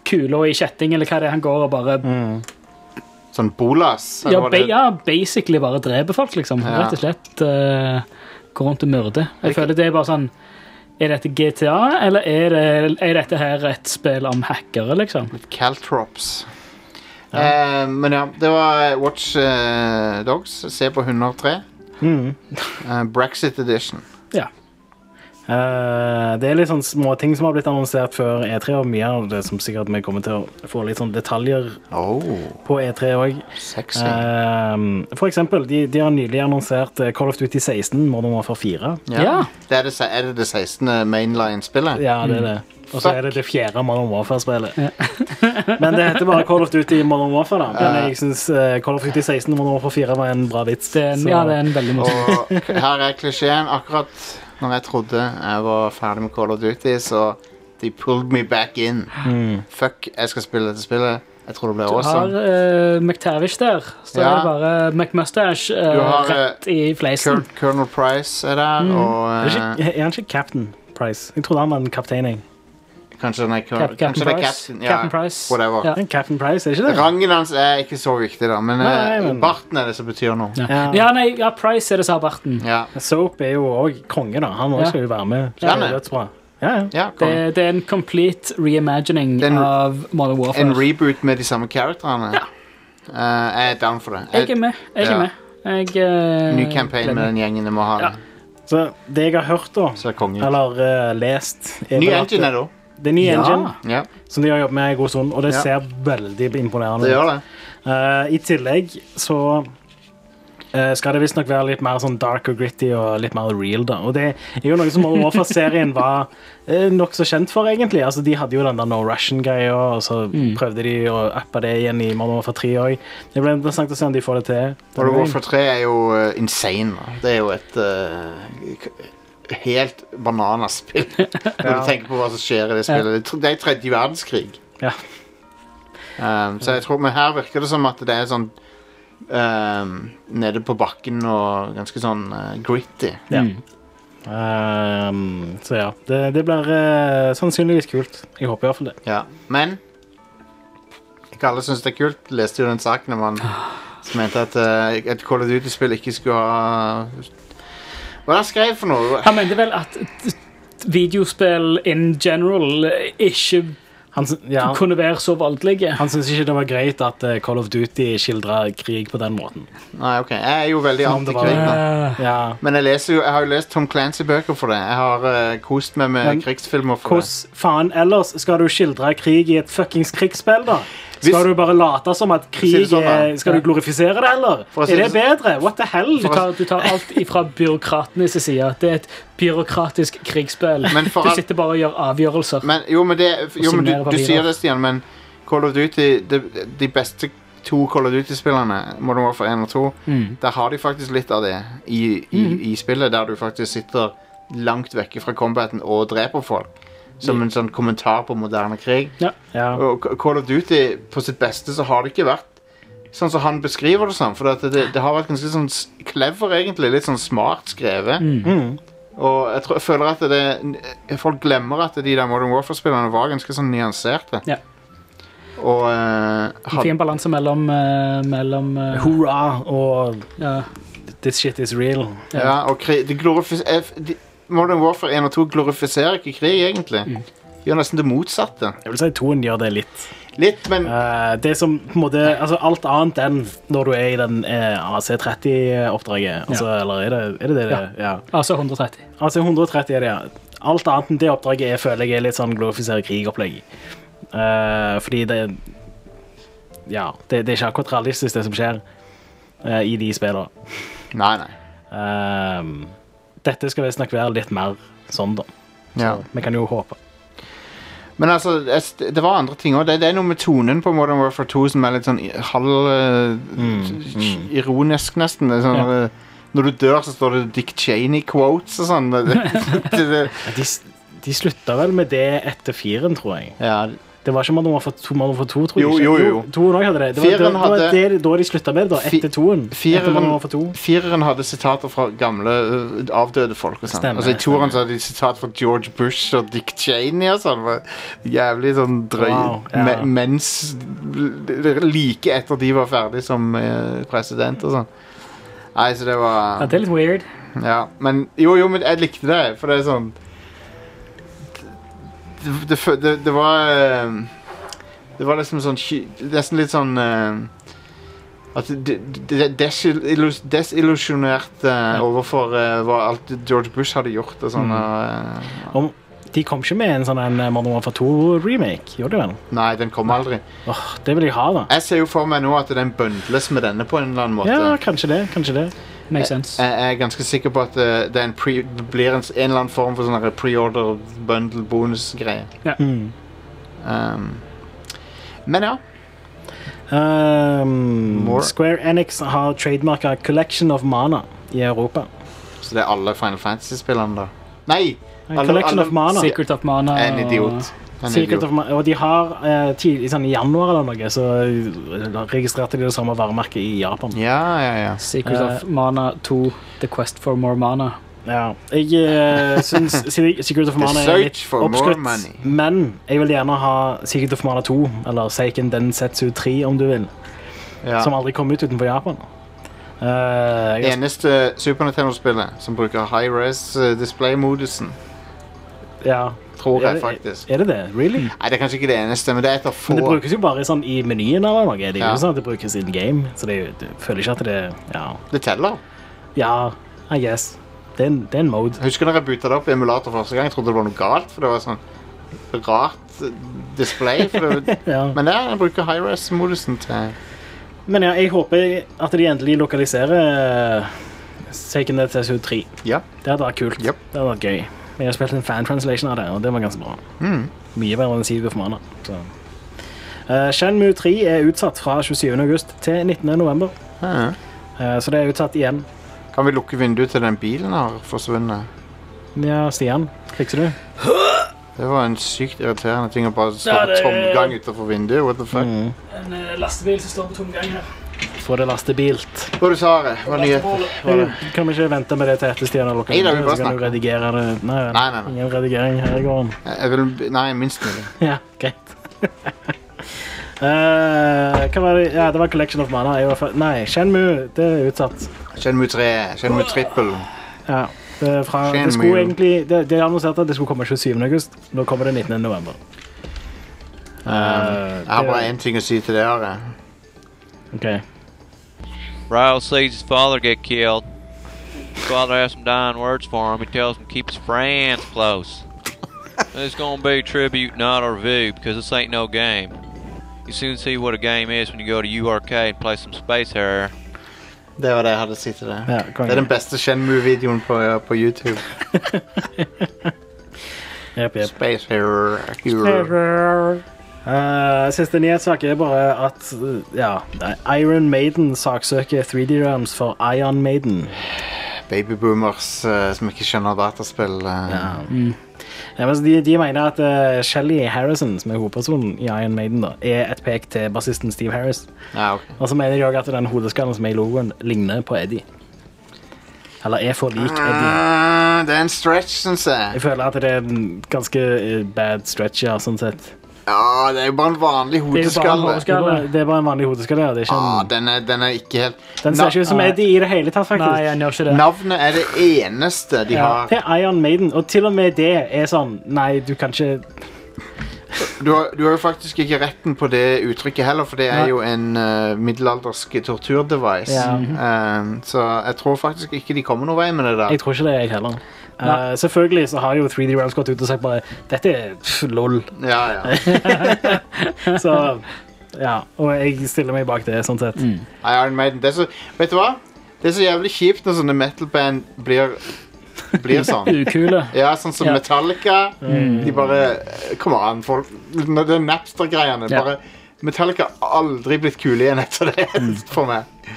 kula i kjetting, eller hva det er han går og bare Sånn Bolas. eller ja, hva ba det- ja, basically bare dreper folk, liksom. Ja. Rett og slett eh, går rundt og myrder. Jeg Det er føler det er bare sånn Er dette GTA, eller er, det, er dette her et spill om hackere, liksom? Caltrops. Eh, men ja, det var Watch eh, Dogs. Se på 103. Mm. (laughs) Eh, Brexit Edition. Ja. Eh, det er litt sånn småting som har blitt annonsert før E3, og mye av det som sikkert vi kommer til å få litt sånn detaljer Oh, på E E3 òg. sexy. Eh, for eksempel, de, de har nylig annonsert eh, Call of Duty 16, Modern Warfare 4. ja. Det er, det, se- er det det 16. mainline-spillet? Ja, det er det. Og så er det det fjerde Modern Warfare-spillet. (laughs) Men det heter bare Call of Duty Modern Warfare, da. Men jeg syns Call of Duty 16 Modern Warfare 4 var en bra vits. Det er en, ja, det er en veldig morsom Og her er klisjeen. Akkurat når jeg trodde jeg var ferdig med Call of Duty, så de pulled me back in. Fuck, jeg skal spille dette spillet. Jeg tror det blir Du har awesome. uh, McTavish der. Så Ja. er det bare McMustache eh, Du har, eh, rett i fleisen. Col- Colonel Price er der, Mm. og Er, eh, ikke, er han ikke captain Price? Jeg trodde han var en kaptein. jeg. Kanskje den er Col- Cap- Captain kanskje det er Price? Captain, ja, Captain Price. Whatever. Ja. Captain Price, er ikke det? Rangen hans er ikke så viktig, da, men, Nei, eh, men- barten er det som betyr noe. Ja. Ja, nei, ja, Price er det som har barten. Ja. Soap er jo òg konge, da. Han Ja. også skal jo være med. Så Ja, det er nei. dødsbra. Ja, ja. Det, det er en complete reimagining av Modern Warfare. En reboot med de samme karakterene. Eh, jeg er down for det. jeg er med. Jeg er Ja. med. Jeg, eh, Ny campaign med gleder den meg. gjengen jeg må ha. Ja. Så det jeg har hørt, da, Så er kongen. eller eh, lest er Ny vel at- eh, engine er det også. Det er ny Ja. engine, Ja. som de har jobbet med en god stund, og det Ja. ser veldig imponerende Det gjør ut. Eh, I tillegg så eh, skal det visstnok være litt mer sånn dark og gritty og litt mer real. da. Og det er jo noe som Modern Warfare-serien var uh, nokså kjent for, egentlig. Altså, De hadde jo den der No Russian-greia, og så prøvde de å uppe det igjen i Modern Warfare 3 òg. Det blir interessant å se om de får det til. World of Warfare 3 er jo eh, insane. Da. Det er jo et eh, k- helt (laughs) bananaspill. Når Ja. du tenker på hva som skjer i det spillet. Det er tr- Det er tredje verdenskrig. Ja. Um, så jeg tror, Men her virker det som at det er sånn um, Nede på bakken og ganske sånn eh, gritty. Ja. Ehm, så ja, det, det blir eh, sannsynligvis kult. Jeg håper iallfall det. Ja. Men ikke alle syns det er kult. Leste jo den saken om han som mente at eh, et Call of Duty-spill ikke skulle ha Hva er det han skrev for noe? Han mente vel at d- d- videospill in general eh, ikke ja. kunne være så voldelige. Han syns ikke det var greit at eh, Call of Duty skildra krig på den måten. Nei, ok. Jeg er jo veldig Som om det var- antikrig. da. Ja. Men jeg, leser jo, jeg har jo lest Tom Clancy-bøker for det. Jeg har eh, kost meg med Men krigsfilmer for det. Hvordan faen ellers skal du skildre krig i et fuckings krigsspill, da? Skal du bare late som at Si krig det sånn, da. er Skal du glorifisere det, eller? For å si Er det det bedre? What the hell? Du tar, du tar alt ifra byråkratenes side. Det er et byråkratisk krigsspill. for Du all- sitter bare og gjør avgjørelser. Men, jo, men, det, jo, men du, signere du papirer. sier det, Stian, men Call of Duty De, de beste to Call of Duty-spillerne, Modern Warfare 1 og 2, Mm. der har de faktisk litt av det i, i, i spillet, der du faktisk sitter langt vekke fra combaten og dreper folk. Som en sånn kommentar på moderne krig. Ja. Og Ca- Call of Duty på sitt beste så har det ikke vært sånn som han beskriver det som. For det, det, det har vært ganske sånn s- clever, egentlig. Litt sånn smart skrevet. Og jeg, tror, jeg føler at det, n- folk glemmer at de der Modern Warfare-spillerne var ganske sånn nyanserte. Ja. Og eh, En fin balanse mellom, eh, mellom eh, Hurra og ja. This shit is real. Ja, og krig, de glorifis- eh, f- de, Modern Warfare 1 og 2 glorifiserer ikke krig, egentlig. De gjør nesten det motsatte. Jeg vil si toen gjør det litt. Litt, men Eh, det som på en måte Altså alt annet enn når du er i den eh, AC30-oppdraget. Altså, Eller er det er det? det, det? Ja. Altså 130. Altså 130 er det, ja. Alt annet enn det oppdraget er, føler jeg er litt sånn glorifisere krig-opplegg. Eh, fordi det Ja, det, det er ikke akkurat realistisk, det som skjer eh, i de spillene. Nei, nei. Ehm, dette skal visstnok være litt mer sånn, da. ja. Vi kan jo håpe. Men altså, jeg s- det var andre ting òg. Det, det er noe med tonen på Modern Warfare 2 som er litt sånn i- halv eh, Mm, Ironisk, nesten. Det er Sånn, eh, Når du dør, så står det Dick Cheney-quotes og sånn. Det, (laughs) det, det, De, s- de slutta vel med det etter firen, tror jeg. ja, Det var ikke Modern Warfare 2, Modern Warfare 2 tror jeg Jo, ikke. jo, jo. toen også hadde det. Det var, det, Fireren det var hadde- det, da de slutta med det, da. Etter toen. Etter Modern Warfare 2. fireren, fireren hadde sitater fra gamle eh, avdøde folk. og sånn. Stemmer, Altså, I toeren så hadde de sitat fra George Bush og Dick Cheney og sånn. Det var Jævlig sånn drøy Wow, ja. me- Mens Like etter de var ferdig som eh, president og sånn. Nei, så det var Ja, det er litt weird. Ja, men Jo, jo, men jeg likte det, for det er sånn Det, det, fø- det, det var eh, Det var liksom sånn sky- Nesten litt sånn eh, At det- det- det- desillu- Desillusjonert eh, overfor eh, hva alt George Bush hadde gjort og sånn. og, eh, Om, de kom ikke med en sånn en Modern Warfare 2-remake, gjorde de vel? nei, den kom aldri. Åh, det vil jeg ha, da. Jeg ser jo for meg nå at den bøndles med denne på en eller annen måte. Ja, kanskje det. Kanskje det. Makes sense. Jeg jeg er ganske sikker på at eh, det, er en pre, det blir en, s- en eller annen form for sånn her pre-order bundle bonus-greie. Ja. Mm. Um, men ja. Ehm, eh, More. Square Enix har trademarka Collection of Mana i Europa. Så det er alle Final Fantasy-spillene, da? Nei! Collection of Mana. Secret of Mana. Jeg er en og- idiot. Den er Secret idiot. of Mana- og de har eh, tidlig, sånn, I januar eller noe så eh, registrerte de det samme varemerket i Japan. Ja, ja, ja. Secret of Eh. Mana 2, The Quest for More Mana. Ja. Jeg uh, syns Secret of The Mana er search litt for more oppskrytt, money. men jeg vil gjerne ha Secret of Mana 2, eller Seiken Densetsu 3, om du vil, Ja. som aldri kom ut utenfor Japan. Eh, jeg, Eneste Super Nintendo-spillet som bruker high-res eh, display-modusen. ja. Tror Er jeg det- faktisk. Er det det? Really? Nei, det er kanskje ikke det eneste, men det er et av få. Men det brukes jo bare sånn i menyen eller noe. Det er jo Ja. ikke sånn at det brukes in game, så det er jo, jeg føler ikke at det ja. Det teller. ja, I guess. Det er en, det er en mode. Husker dere jeg bootet det opp i emulator første gang? Jeg trodde det var noe galt, for det var sånn rart eh, display. For det, (laughs) Men ja, jeg bruker high-res-modusen til Men ja, jeg håper at de endelig lokaliserer eh, Seiken TSU 3. Ja. Det hadde vært kult. Det hadde vært gøy. Men jeg har spilt en fan-translation av det, og det var ganske bra. Mm. Mye bedre enn Secret of Mana. Så. Eh, Shenmue 3 er utsatt fra 27. august til 19. november. Ja. Eh, så det er utsatt igjen. Kan vi lukke vinduet til den bilen har forsvunnet? Ja, Stian, fikser du? Det var en sykt irriterende ting å bare stå Ja, på det- tomgang utenfor vinduet. What the fuck? En eh, lastebil som står på tomgang her. Få det lastebilt. Hva du sa det? Hva nyheter? Hva er det? Kan vi ikke vente med det til etter Stian har lukket Mm. Nei, da, vi vinduet, bare så kan du snakker. redigere det? Nei, Nei, nei, nei. ingen redigering her i gården. Jeg vil, nei, minst mulig. Ja, greit. (laughs) Eh, hva var det? Ja, det var Collection of Mana. Jeg var fe- Nei, Shenmue, det er utsatt. Shenmue 3, Shenmue Triple. Ja, det, er fra, det Shenmue. skulle egentlig det, det annonserte at det skulle komme 27. august. Nå kommer det 19. november. Eh, Um, jeg har bare én ting å si til det her. jeg. Okay. Ryle sees his father get killed. His father has some dying words for him. He tells him to keep his friends close. It's gonna be tribute, not a review, because this ain't no game. You soon see what a game is when you go to URK and play some Space Harrier. Det var det jeg hadde å si til det. Ja, konge. det er den beste Shenmue-videoen på, på YouTube. Jep, jep. Space Hero. Eh, siste nyhetssak er bare at eh, ja, Iron Maiden saksøker 3D Realms for Ion Maiden. Babyboomers eh, som ikke skjønner dataspill. eh. Ja, men så de, de mener at eh, Shelly Harrison, som er hovedpersonen i Iron Maiden, da, er et pek til bassisten Steve Harris. Ja, ok. Og så mener de også at den hodeskallen som er i logoen, ligner på Eddie. Eller er for lik Eddie. Ah, det er en stretch, syns jeg. Jeg føler at det er en ganske eh, bad stretch, ja, sånn sett. Ja, det er jo bare en vanlig Det er jo bare en hodeskalle. hodeskalle. Det er bare en vanlig hodeskalle. ja, Det er ikke Ah, en, den, er, den er ikke helt den ser ikke ut som Na- Eddie i det hele tatt, faktisk. Nei, han gjør ikke Navnet er det eneste de ja, har. det er Iron Maiden, og til og med det er sånn Nei, du kan ikke Du har, du har jo faktisk ikke retten på det uttrykket heller, for det er Nei. jo en eh, middelaldersk torturdevice. Ja. Eh, så jeg tror faktisk ikke de kommer noen vei med det der. Jeg tror ikke det, jeg heller. Eh, selvfølgelig så har jo 3D Realms gått ut og sagt bare Dette er pff, lol. Ja, ja. så ja, og jeg stiller meg bak det, sånn sett. Iron Maiden. Det er så, vet du hva? Det er så jævlig kjipt når sånne metal-band blir, blir sånn. (laughs) Ukule. Ja, sånn som Ja. Metallica. Mm. De bare Kom an, folk. Når Det er Napster-greiene. Ja. Bare Metallica har aldri blitt kule igjen etter det Mm. (laughs) for meg.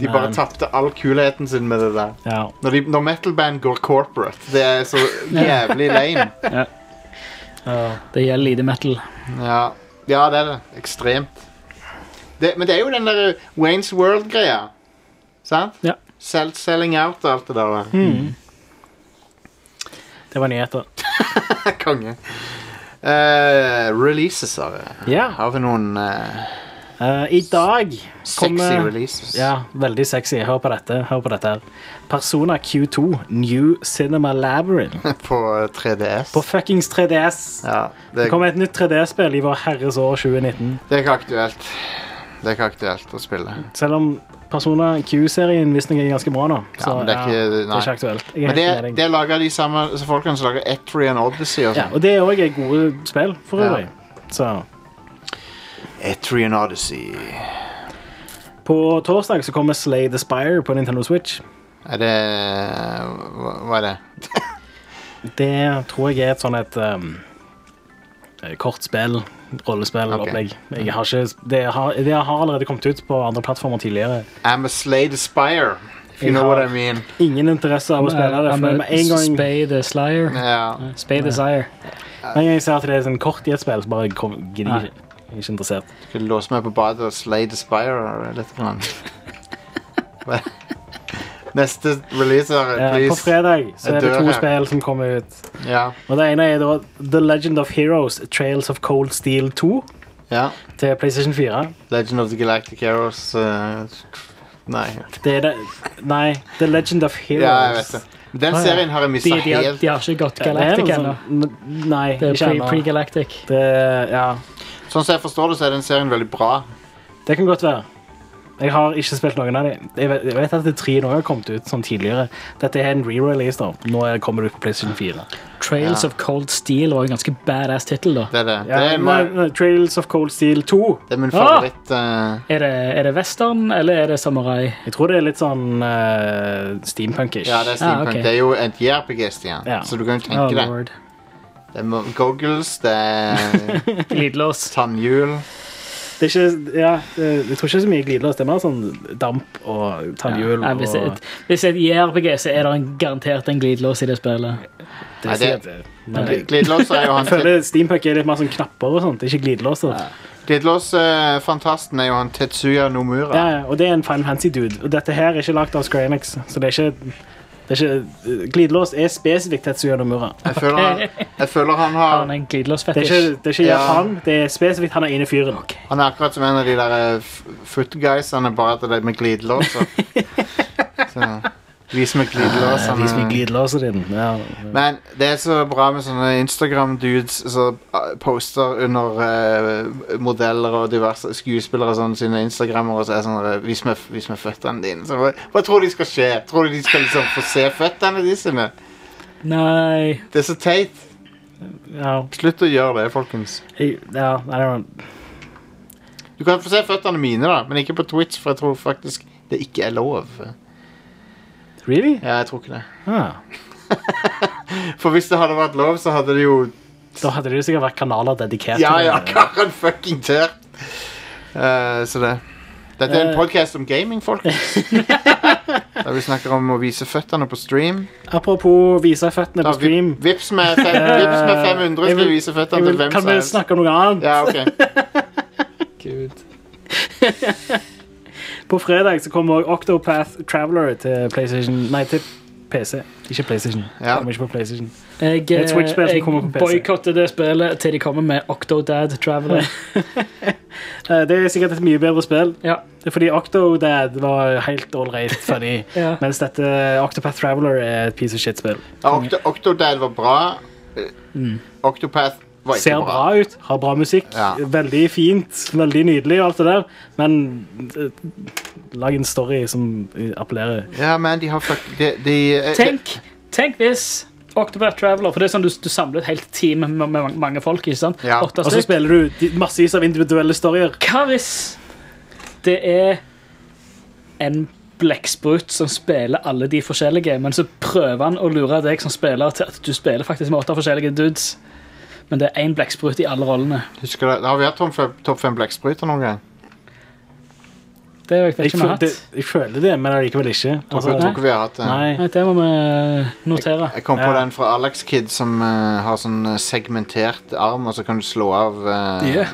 De bare Men- tapte all kulheten sin med det der. Ja. Når, de, når metal-band går corporate, det er så jævlig lame. Ja. Det gjelder lite metal. Ja, ja det er det. Ekstremt. Det, men det er jo den der Waynes World-greia. Sant? Ja. Sel- selling out og alt det der. der. Mm. Det var nyheter. (laughs) Konge. Eh, releases, har vi. Ja. Har vi noen eh, Eh, I dag kommer releases. eh, Ja, veldig sexy. Hør på dette. Hør på dette her. Persona Q2 New Cinema Labyrinth. (laughs) på eh, 3DS? (laughs) På fuckings 3DS. Ja, Det det, kommer et nytt 3D-spill i vår herres år 2019. det er ikke aktuelt. Det er ikke aktuelt å spille. Selv om Persona Q-serien visstnok er ganske bra nå. Så Ja, men det er ja, ikke, det nei. er ikke aktuelt. Jeg er Men helt det, med deg. det lager de samme så folkene som lager Etrian Odyssey og Ja, sånn. og det òg er gode spill, for Ja. øvrig. Så Etrian Odyssey På torsdag så kommer Slay the Spire på Nintendo Switch. Er det Hva, hva er det? Det tror jeg er et sånn et um, kort spill, rollespill, Ok. opplegg. Jeg har ikke, det, har, det har allerede kommet ut på andre plattformer tidligere. I'm a slay the spire, if you Jeg know har- what I mean. Ingen interesse av å spille det. For med en gang Spay the Slayer. Ja. Spay the Sire. Hver gang jeg ser at det er sånn kort i et spill, så bare kom- gidder jeg ikke. Jeg er ikke interessert. Skulle låse meg på badet og slay the spire litt. Grann. (laughs) Neste releaser, Eh, please. På fredag så er Jeg det dør to her. spill som kommer ut. Ja. Og Det ene er da The Legend of Heroes Trails of Cold Steel 2 Ja. til PlayStation 4. Legend of the Galactic Heroes eh, Nei. Det er det Nei, The Legend of Heroes. Ja, jeg vet det. Den Ah, ja. serien har jeg mistet De- de har- helt. de har ikke gått Galactic Sånn- Nei, Det er ikke pre- ennå. pre-galactic. Det, ja. Sånn som jeg forstår det, så er den serien veldig bra. Det kan godt være. Jeg har ikke spilt noen av dem. Jeg vet, jeg vet at det er tre nå har kommet ut sånn tidligere. Dette er en re-release. da. Nå er- kommer det ut på PlayStation 4. Trails Ja. of Cold Steel var jo en ganske badass tittel, da. Det er det. Ja, det er, nei, min- nei, Trails of Cold Steel 2. det er min Ah! favoritt. eh, Er det, er det western, eller er det samurai? Jeg tror det er litt sånn eh, steampunkish. Ja, det er steampunk. Ah, ok. Det er jo et JRPG-stian, Ja. så du kan jo Oh, tenke deg. lord. Det er mo- goggles, det (laughs) er Glidelås. tannhjul. Det er ikke, ja, det, jeg tror ikke det er så mye glidelås. Det er mer sånn damp og tannhjul. Nei, hvis, og, det- hvis det er et JRPG, så er det en garantert en glidelås i det spillet. Nei, si det- at Men gl- glidelås er jo han- (laughs) Jeg føler steampunk er litt mer sånn knapper og sånt. Det er ikke glidelåser. Glidelås-fantasten er jo han Tetsuya Nomura. Ja, ja, og det er en Final Fantasy dude. Og dette her er ikke lagt av Square Enix, så det er ikke, det er ikke Glidelås er spesifikt Tetsuya Nomura. Jeg glidelås (laughs) føler, han, jeg føler han har Han er en Det er glidelåsfetisj. ikke, det er ikke Ja. Japan, det er spesifikt han er ene fyren. Han er akkurat som en av de der eh, f- footguysene, bare at det er med (laughs) glidelåser. Så, Vis meg Ja, Ah, vis meg glidelåsene. glidelåser din. Ja. Men det er så bra med sånne Instagram-dudes som eh, poster under eh, modeller og diverse skuespillere og sånn sine Instagrammer og så er det sånn eh, Vis meg, vis meg føttene dine. Så, hva, hva tror de skal skje? Tror de de skal liksom få se føttene de sine? Nei Det er så teit. Ja. Slutt å gjøre det, folkens. Jeg, ja, I don't know. Du kan få se føttene mine, da, men ikke på Twitch, for jeg tror faktisk det ikke er lov. Really? Ja, jeg tror ikke det. Ah. For hvis det hadde vært lov, så hadde det jo Da hadde det jo sikkert vært kanaler dedikert (laughs) Ja, ja, (laughs) det. Karen fucking tør. Eh, så det Dette er en Eh. podcast om gaming, (laughs) folkens. Der vi snakker om å vise føttene på stream. Apropos vise føttene Da, på stream. vi- Vips med, fem, vips med 500 Jeg skal vil- vi vise jeg føttene til vil- hvem Kan som vi helst. snakke om noe annet? Ja, ok. På fredag så kommer også Octopath Traveler til PlayStation Nei, til PC. Ikke PlayStation. Ja. Kommer ikke på PlayStation. Jeg, eh, Det er et Switch-spill som jeg kommer på PC. boykotter det spillet til de kommer med Octodad Traveler. Eh, Det er sikkert et mye bedre spill. Ja. Det er fordi Octodad var helt ålreit (laughs) funny, Ja. mens dette Octopath Traveler er et piece of shit-spill. Ja, Octo Octodad var bra. Eh, Octopath var ikke Mm. Ser bra. bra ut, har bra musikk, Ja. veldig fint, veldig nydelig og alt det der, men eh, lag en story som eh, appellerer. Ja, men de har fuck... De, de, eh, Tenk, tenk hvis Octopath Traveler For det er sånn du, du samler et helt team med, med mange- mange folk. ikke sant? Ja. Åtte Og så stykk. spiller du de- massevis av individuelle storier. Hva hvis det er en blekksprut som spiller alle de forskjellige, men så prøver han å lure deg som spiller til at du spiller faktisk med åtte forskjellige dudes, men det er én blekksprut i alle rollene? Husker du, har vi hatt Tom Fe- Topp 5 blekkspruter noen gang? Det vet jeg Jeg, ikke om vi har føl, det, hatt. jeg føler det, men allikevel ikke. Altså, Jeg tror ikke vi har hatt eh? det. nei. Nei, det må vi notere. Jeg kom på Ja. den fra Alex Kid som eh, har sånn eh, segmentert arm, og så kan du slå av eh, Ja.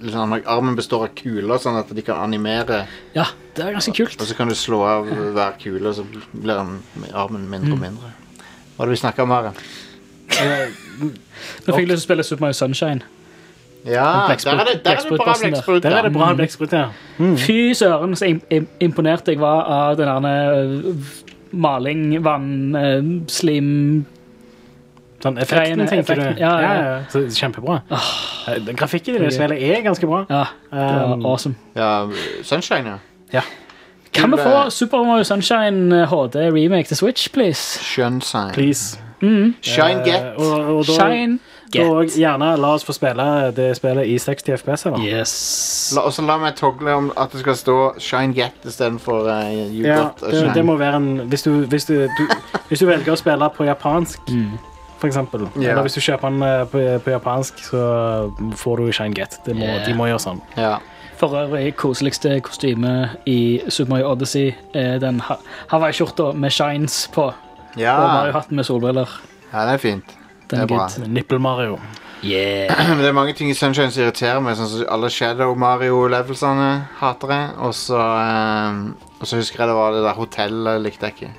liksom, Armen består av kuler, sånn at de kan animere. Ja, det er ganske kult. Og så kan du slå av hver kule, og så blir den- armen mindre Mm. og mindre. Hva er det vi snakker om her? Nå fikk jeg lyst til å spille Super Mario Sunshine. Ja, der er det, der er det bra Blekksprutplassen der. blekksprut. Der er det bra ja. blekksprut, ja. Fy søren, så im im imponert jeg var av den derne maling, vann, eh, slim Sånn effekten, Greiene, tenker effekten, du. ja, ja, ja. Så, kjempebra. Eh, Den grafikken i det konge. spillet er ganske bra. Ja, det var Ehm, Um, awesome. ja, Sunshine, ja. Ja. Kan vi Kul, eh, få Super Mario Sunshine HD remake til Switch, please? Sunshine. Please. Shine Eh, get. Og, og da, Shine Get. Og gjerne la oss få spille det spillet i 60 FPS, eller? Yes. La- Og så la meg togle om at det skal stå Shine get istedenfor uh, You Ja, Got a det, det Shine. må være en Hvis du, hvis du, du, hvis du velger å spille på japansk, Mm. for eksempel, Ja. eller hvis du kjøper den eh, på, på japansk, så får du Shine Get. Det må, Ja. De må gjøre sånn. Ja. For øvrig, koseligste kostyme i Super Mario Odyssey er den ha- Hawaii-skjorta med shines på. Og ja. Mario-hatten med solbriller. ja, Ah. det er fint. Det Den er er bra. good. Nipple Mario. (clears throat) Men det er mange ting i Sunshine som irriterer meg. Sånn som alle Shadow Mario-levelsene hater jeg. Og så eh, og så husker jeg det var det der hotellet likte jeg ikke.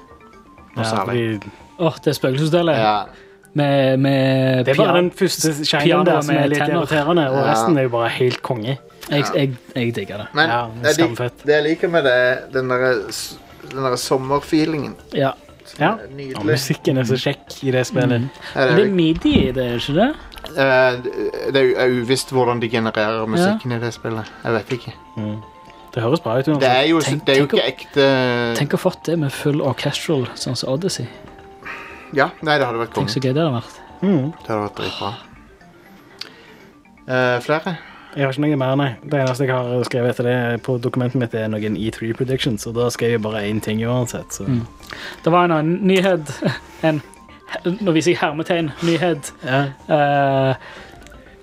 Noe Ja, særlig. Åh, det er spøkelseshotellet. Ja. Med, med Det er bare den første shinen der som er litt irriterende, og Ja. resten er jo bare helt konge. Jeg, jeg, jeg digger det. Men ja, jeg lik- det jeg liker med det, er den derre s- den derre sommerfeelingen. Ja. Ja. Mm. er nydelig. ja, musikken er så kjekk i det spillet. Ja, det er Men det er lik- midi i det, er ikke det? Eh, det- det er u- er uvisst hvordan de genererer musikken i det spillet. Jeg vet ikke. Det høres bra ut. Det er jo, Tenk- det er jo tenk å- ikke ekte Tenk å ha fått det med full orchestral, sånn som Odyssey. Ja, nei, det hadde vært Tenk konge. så gøy det hadde vært. Det hadde vært dritbra. Eh, flere? Jeg har ikke noe mer, nei. Det eneste jeg har skrevet etter det på dokumentet mitt, er noen E3 predictions, og da skrev jeg bare én ting uansett. Så. Mm. Det var en annen nyhet (laughs) en, Nå viser jeg hermetegn. Nyhet. Eh,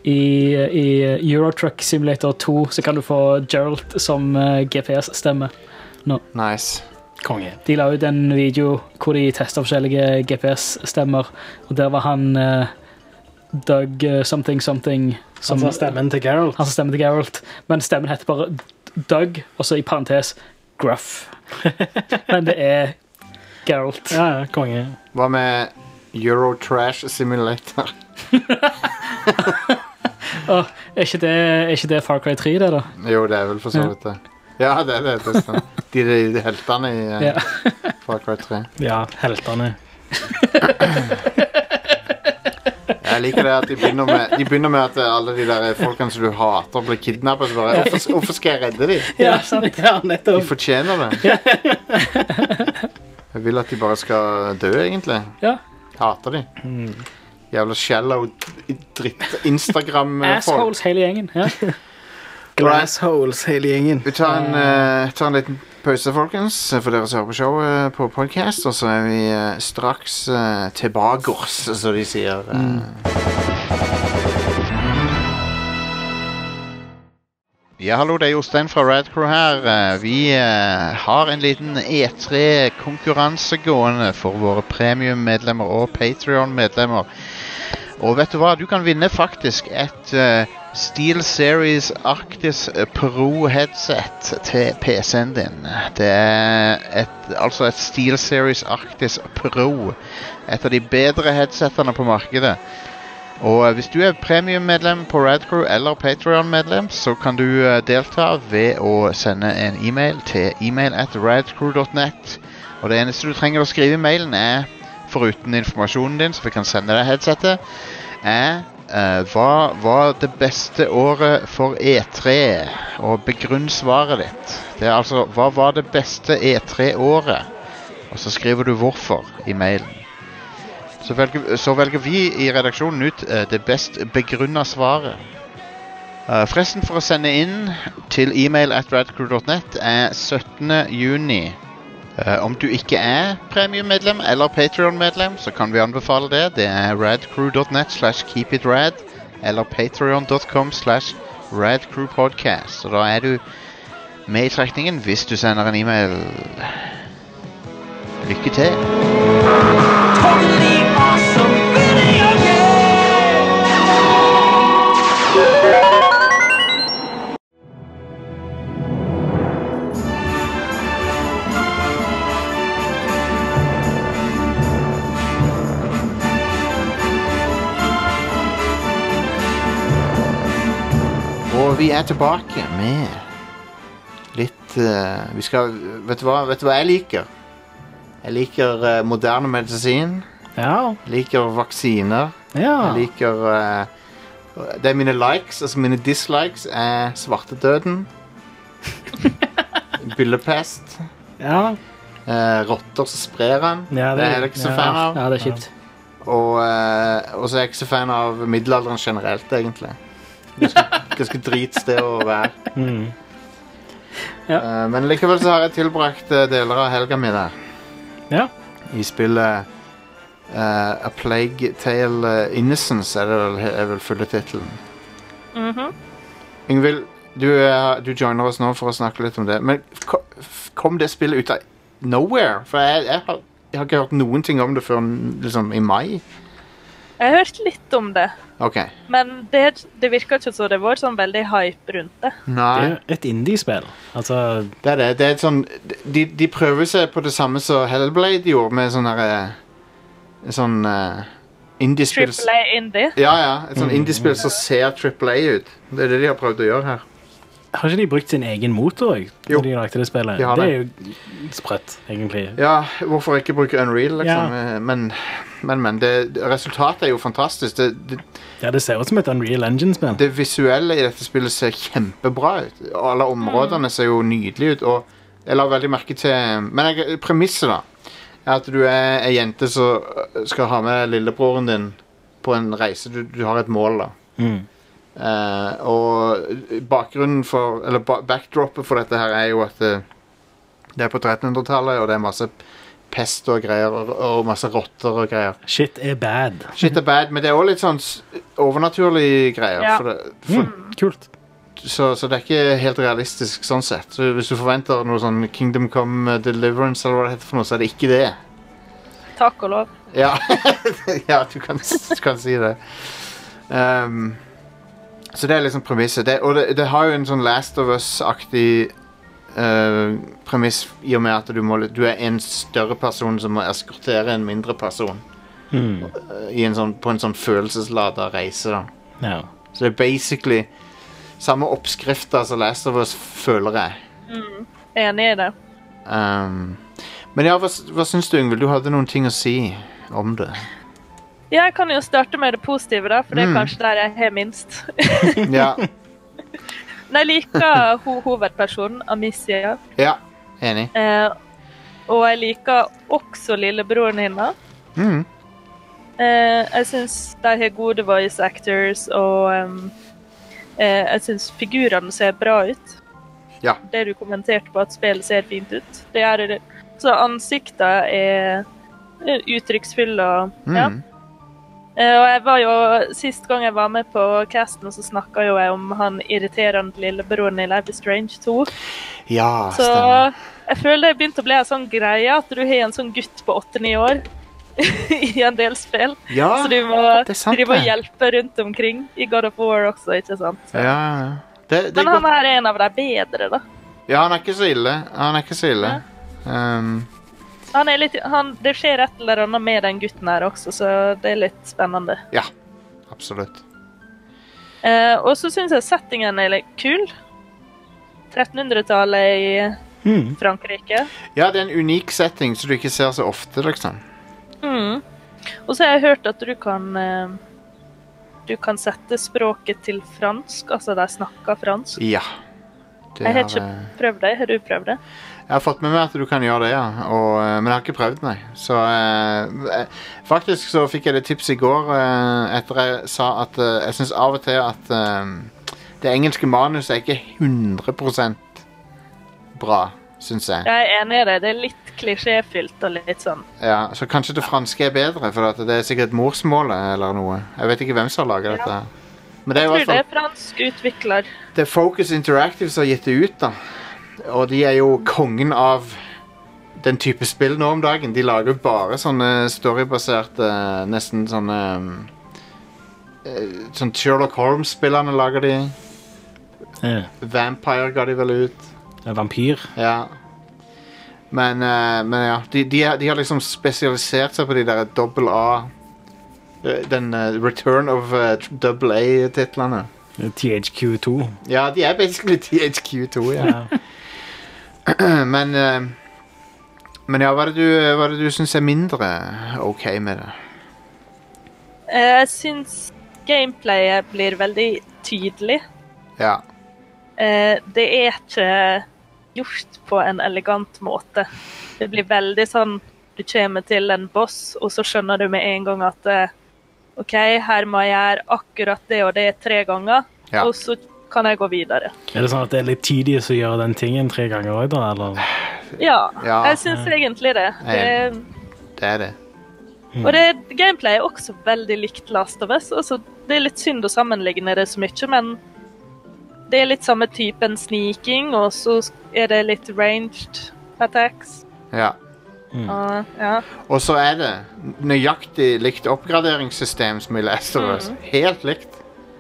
i, I Eurotruck Simulator 2 så kan du få Gerald som eh, GPS-stemme. Nå. Nice. Konge. De la ut en video hvor de testa forskjellige GPS-stemmer, og der var han eh, Doug eh, something something som- Han sa stemmen til Geralt. Han sa stemmen til Geralt, men stemmen heter bare Doug, og så i parentes (laughs) Gruff. men det er Geralt. Ja, ja, konge. Hva med Eurotrash Simulator? (laughs) Åh, er, ikke det, er ikke det Far Cry 3, det, da? Jo, det er vel for så vidt det. Ja, det er det. det stemmer. de, de, de heltene i eh, Ja. Far Cry 3. Ja, heltene. Jeg liker det at de begynner med, de begynner med at eh, alle de der folkene som du hater, blir kidnappet. Så bare, hvorfor, hvorfor skal jeg redde dem? Ja, sant. (laughs) Ja, De nettopp. fortjener det. Jeg vil at de bare skal dø, egentlig. Ja. Hater de. Jævla shallow dritt-Instagram-folk. Assholes, hele gjengen. Ja. Glassholes, hele gjengen. Vi tar en, eh, tar en liten pause, folkens, for dere som hører på showet eh, på podcast, og så er vi eh, straks uh, tilbakers, (laughs) som de sier. eh. Ja, hallo, det er Jostein fra Radcrew her. Eh, Vi eh, har en liten E3-konkurranse gående for våre premium-medlemmer og Patrion-medlemmer. Og vet du hva? Du kan vinne faktisk et eh, Steel Series Arctis Pro-headset til PC-en din. Det er et, altså et Steel Series Arctis Pro. Et av de bedre headsetene på markedet. Og eh, hvis du er premiummedlem på Radcrew eller Patreon-medlem, så kan du eh, delta ved å sende en e-mail til e-mail at radcrew.net. Og det eneste du trenger å skrive i mailen er, foruten informasjonen din, så vi kan sende deg headsetet, er eh, hva var det beste året for E3? Og begrunn svaret ditt. Det er altså hva var det beste E3-året? Og så skriver du hvorfor i mailen. Så velger, så velger vi i redaksjonen ut eh, det best begrunna svaret. Eh, Fresten for å sende inn til e-mail at radcrew.net er 17. juni. Eh, om du ikke er premiummedlem eller Patreon-medlem, så kan vi anbefale det. Det er radcrew.net slash keepitrad eller patreon.com slash radcrewpodcast. Så da er du med i trekningen hvis du sender en e-mail. Lykke til. Og vi er tilbake med litt eh, Vi skal Vet du hva, vet du hva jeg liker? Jeg liker eh, moderne medisin. (laughs) Ja. Jeg liker vaksiner. Ja. Jeg liker eh, Det er mine likes. Altså mine dislikes er svartedøden. (laughs) Byllepest. Ja. eh, rotter som sprer den. Ja, det- det, er jeg ikke så ja. fan av. Ja, det er kjipt. Og, eh, og så er jeg ikke så fan av middelalderen generelt, egentlig. (laughs) Ganske, ganske dritsted å være. Mm. Eh, men likevel så har jeg tilbrakt eh, deler av helga mi der. Ja. I spillet eh, A Plague Tale eh, Innocence er, det vel, er vel fulle tittelen. Yngvild, du, er- du joiner oss nå for å snakke litt om det. Men ko- f- kom det spillet ut av nowhere? For jeg, jeg, har, jeg har ikke hørt noen ting om det før liksom, i mai. Jeg har hørt litt om det, OK. men det, det virka ikke som det var sånn veldig hype rundt det. Nei. Det er et indie-spill. Altså Det er det. det er et sånn, de, de prøver seg på det samme som Hellblade gjorde, med sånn herre Sånn eh, indie-spill Triple A Indie. Ja, ja. Et sånn indie-spill som ser Triple A ut. Det er det de har prøvd å gjøre her. Har ikke de brukt sin egen motor òg? Jo. De lagde det spillet? De har det. det. er jo sprøtt, egentlig. Ja, hvorfor ikke bruke Unreal, liksom? Eh, Ja. Men, men, men det, resultatet er jo fantastisk. Det, det, Ja, Det ser ut som et Unreal Engine-spill. det visuelle i dette spillet ser kjempebra ut. Og alle områdene ser jo nydelige ut. Og jeg la veldig merke til Men jeg, premisset, da, er at du er ei jente som skal ha med lillebroren din på en reise. Du, du har et mål, da. Eh, og bakgrunnen for Eller ba backdroppet for dette her er jo at eh, det er på 1300-tallet, og det er masse pest og greier, og, og masse rotter og greier. Shit er bad. Shit er bad, men det er òg litt sånn s- overnaturlig greier. Ja. For det, for, kult. Så, så det er ikke helt realistisk sånn sett. Så hvis du forventer noe sånn Kingdom Come eh, Deliverance, eller hva det heter, for noe, så er det ikke det. Takk og lov. Ja, (laughs) ja du, kan, du kan si det. Ehm, så det er liksom premisset. Det, og det, det har jo en sånn Last of Us-aktig eh, premiss i og med at du, må, litt- du er en større person som må eskortere en mindre person Hmm. eh, i en sånn, på en sånn følelseslada reise. da. Ja. Så det er basically samme oppskrifta som Last of Us, føler jeg. Mm. Enig i det. Ehm, men ja, hva, s- hva syns du, Yngvild? Du hadde noen ting å si om det. Ja, jeg kan jo starte med det positive, da, for det er Mm. kanskje der jeg har minst. (laughs) Ja, Men jeg liker ho hovedpersonen, Amicia, ja enig. eh, og jeg liker også lillebroren hennes. Mm. Eh, jeg syns de har gode voice actors, og em, eh, jeg syns figurene ser bra ut. Ja. Det du kommenterte på at spillet ser fint ut. Det gjør det. Så ansiktene er er uttrykksfulle og ja. Mm. Eh, Og jeg var jo, Sist gang jeg var med på casten, så snakka jo jeg om han irriterende lillebroren i Life is Strange 2. Ja, Ah, så stemmer. jeg føler det begynte å bli en sånn greie at du har en sånn gutt på 8-9 år (laughs) i en del spill. Ja, så du må er sant, drive og det. hjelpe rundt omkring i God of War også, ikke sant? Ja, ja. Det, det er Men han godt. her er en av de bedre, da. ja, han er ikke så ille. Han er ikke så ille. Ehm, Han er litt, han, det skjer et eller annet med den gutten her også, så det er litt spennende. ja, absolutt. Eh, og så syns jeg settingen er litt kul. 1300-tallet i Mm. Frankrike. Ja, det er en unik setting som du ikke ser så ofte, liksom. Mm. Og så har jeg hørt at du kan eh, Du kan sette språket til fransk, altså de snakker fransk. Ja. Det Jeg har har, ikke eh, prøvd det. Har du prøvd det? jeg har fått med meg at du kan gjøre det, ja. Og, eh, men jeg har ikke prøvd, nei. Så eh, eh, Faktisk så fikk jeg det tipset i går eh, etter jeg sa at eh, jeg syns av og til at eh, det engelske manuset er ikke 100 bra, syns jeg. Jeg er enig i det. Det er litt klisjéfylt og litt sånn. Ja, så kanskje det franske er bedre, for at det er sikkert morsmålet eller noe. Jeg vet ikke hvem som har laget dette. her. Men det er i Jeg hvert tror det fall er fransk utvikler. det er Focus Interactive som har gitt det ut, da. Og de er jo kongen av den type spill nå om dagen. De lager jo bare sånne storybaserte, eh, nesten sånne um, eh, Sånn Sherlock Holmes-spillerne lager de. Ja. Vampire ga de vel ut. Det er Vampyr. Ja. Men, eh, men ja, de, de, har- de har liksom spesialisert seg på de der dobbel A eh, Den eh, Return of Double A-titlene. THQ2. Ja, de er basically (laughs) THQ2, ja. (clears throat) men eh, Men ja, hva er det du, hva er det du syns er mindre OK med det? Eh, Jeg syns gameplayet blir veldig tydelig. Ja. Eh, det er ikke gjort på en elegant måte. Det blir veldig sånn Du kommer til en boss, og så skjønner du med en gang at eh, OK, her må jeg gjøre akkurat det og det tre ganger, Ja. og så kan jeg gå videre. Er det sånn at det er litt tedious å gjøre den tingen tre ganger òg, da? Eller? Ja, Ja. jeg syns egentlig det. Jeg- det Det er det. Og det gameplay er også veldig likt Last of Us. Altså, det er litt synd å sammenligne det så mye, men det er litt samme typen sniking, og så er det litt ranged attacks. Ja. Og, ja. Og så er det nøyaktig likt oppgraderingssystem som i Last of Us. Mhm. Helt likt.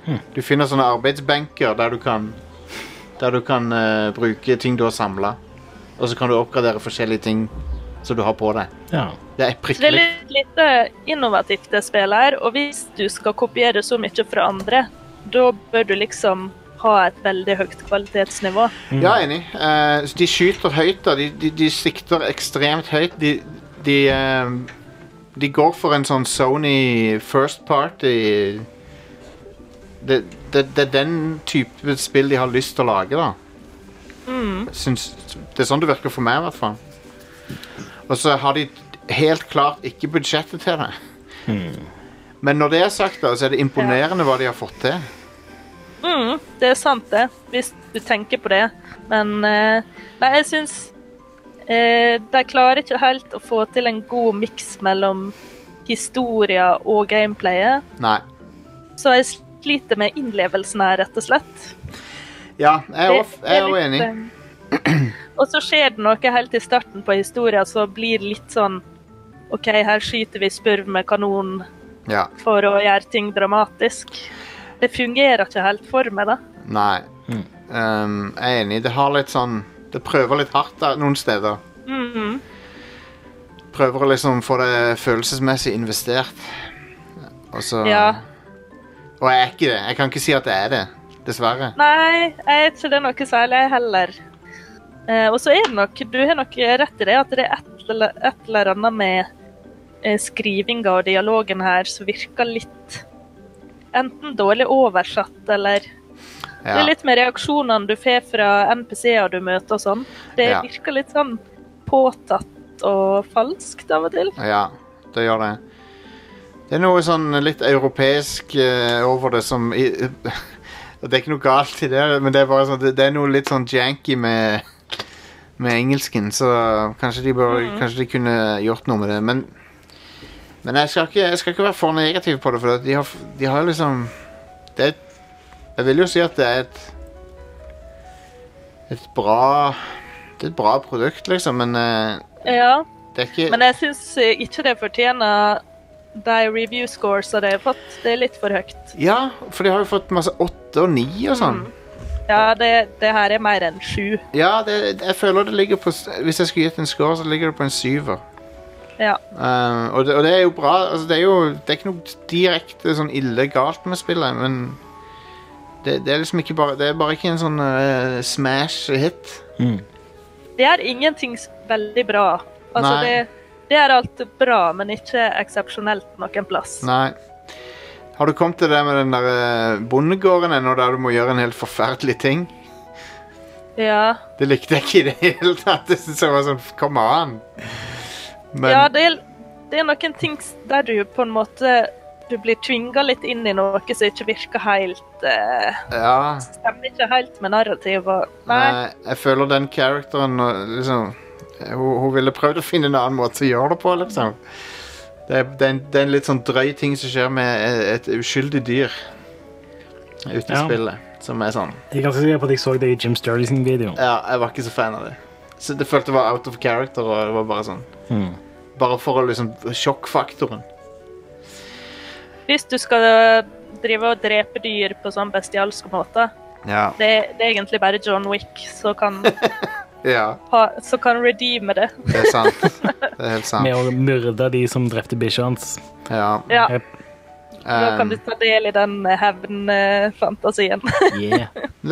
Hm. Du finner sånne arbeidsbenker der du kan Der du kan eh, bruke ting du har samla. Og så kan du oppgradere forskjellige ting som du har på deg. Det er Så det er prikkelig. litt lite innovativt det spillet her, og hvis du skal kopiere så mye fra andre, da bør du liksom ha et veldig høyt kvalitetsnivå. Ja, enig. Eh, så de skyter høyt, da. De, de, de sikter ekstremt høyt. De, de, eh, de går for en sånn Sony first party Det, det, det er den type spill de har lyst til å lage, da. Mm. Syns, det er sånn det virker for meg, i hvert fall. Og så har de helt klart ikke budsjettet til det. Men når det er sagt, da, så er det imponerende hva de har fått til. Mm, det er sant det, hvis du tenker på det. Men eh, nei, jeg syns eh, de klarer ikke helt å få til en god miks mellom historia og gameplayet. Nei. Så jeg sliter med innlevelsen her, rett og slett. Ja, jeg er også- jeg er Det også er enig. litt, eh, Og så skjer det noe helt i starten på historien som blir det litt sånn OK, her skyter vi spurv med kanon Ja. for å gjøre ting dramatisk. Det fungerer ikke helt for meg, da. Nei. Um, jeg er enig. Det har litt sånn Det prøver litt hardt da, noen steder. Mhm. Prøver å liksom få det følelsesmessig investert. Og så Ja. Og jeg er ikke det. Jeg kan ikke si at jeg er det. Dessverre. Nei, jeg er ikke det noe særlig jeg heller. Eh, og så er det nok, du har nok rett i det, at det er et eller, et eller annet med eh, skrivinga og dialogen her som virker litt enten dårlig oversatt, eller Det Ja. er litt med reaksjonene du får fra NPC-er du møter og sånn. Det Ja. virker litt sånn påtatt og falskt av og til. Ja, det gjør det. Det er noe sånn litt europeisk eh, over det som i, (laughs) Det er ikke noe galt i det, men det er bare sånn Det, det er noe litt sånn janky med med engelsken, så kanskje de, bør, Mhm. kanskje de kunne gjort noe med det. Men, men jeg, skal ikke, jeg skal ikke være for negativ på det, for de har, de har liksom det er, et- Jeg vil jo si at det er et et bra Det er et bra produkt, liksom, men eh, Ja. det er ikke Men jeg syns ikke det fortjener de review scoresa de har fått. Det er litt for høyt. Ja, for de har jo fått masse åtte og ni og sånn. Ja, det, det her er mer enn sju. Ja, det, jeg føler det ligger på s- Hvis jeg skulle gitt en score, så ligger det på en syver. Ja. Eh, og, det, og det er jo bra. Altså, det er jo det er ikke noe direkte sånn illegalt med spillet, men det, det er liksom ikke bare Det er bare ikke en sånn eh, smash-hit. Det er ingenting s- veldig bra. Altså, Nei. det, det er alt bra, men ikke eksepsjonelt noen plass. Nei. Har du kommet til det med den der eh, bondegården ennå, der du må gjøre en helt forferdelig ting? Ja. Det likte jeg ikke i det hele tatt. (laughs) Det synes jeg var sånn Kom an! Men- ja, det er, det er noen ting s- der du på en måte du blir tvinga litt inn i noe som ikke virker helt eh, ja. Stemmer ikke helt med narrativet. og- Nei. Nei, jeg føler den karakteren og liksom, hun, hun ville prøvd å finne en annen måte å gjøre det på, liksom. Det er, det er, en, det er en litt sånn drøy ting som skjer med et uskyldig dyr ute i Ja. spillet. Som er sånn Jeg er ganske sikker på at jeg så det i Jim Sturley sin video. Ja, jeg var ikke så fan av det. Så Det følte jeg var out of character, og det var bare sånn Bare for å liksom Sjokkfaktoren. Hvis du skal drive og drepe dyr på sånn bestialsk måte, Ja. det, det er egentlig bare John Wick som (laughs) kan, ja. ha, som kan redeeme det. Det er sant. Det er (laughs) helt sant. Med å myrde de som drepte bikkja hans. Ja. Ja. Yep. Da kan du ta del i den eh, (laughs) hevnfantasien. Det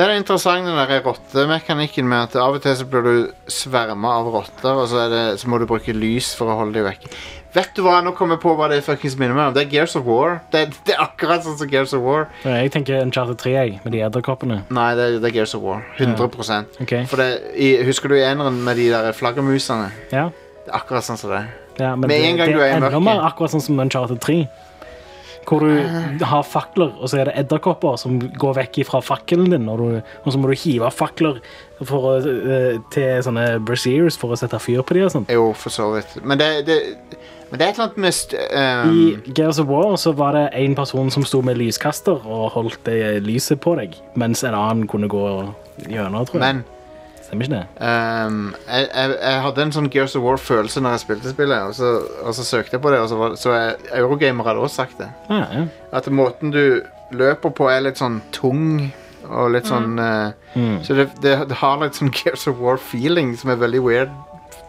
er interessant den der rottemekanikken med at av og til så blir du sverma av rotter, og så, er det, så må du bruke lys for å holde dem vekk. Vet du hva, nå kommer jeg på hva det fuckings minner meg om. Det er Gears of War. Det, det er akkurat sånn som Gears of War. Ja, Jeg tenker Uncharted 3, jeg, med de edderkoppene. Nei, det, er- det er Gears of War. 100 Ok. For det, i, Husker du i eneren med de der flaggermusene? Ja. Det er akkurat sånn som det. Ja, men Med det, en gang det du er i enda mørket. mer akkurat sånn som Uncharted 3. Hvor Ah. du har fakler, og så er det edderkopper som går vekk fra fakkelen din. Og, du, og så må du hive fakler for å, eh, til sånne braziers for å sette fyr på dem. og sånt. Jo, for så vidt. Men det, det, men det er et eller annet med st ehm, I Gears of War så var det en person som sto med lyskaster og holdt det lyset på deg, mens en annen kunne gå gjennom, tror jeg. Men Stemmer ikke det? Ehm, jeg, jeg, jeg hadde en sånn Gears of War-følelse når jeg spilte spillet, og så, og så søkte jeg på det, og så, var, så jeg, Eurogamer hadde også sagt det. Ja, Ah, ja. At måten du løper på er litt sånn tung, og litt sånn eh, Mm. Så det, det, det har litt sånn Gears of War-feeling, som er veldig weird,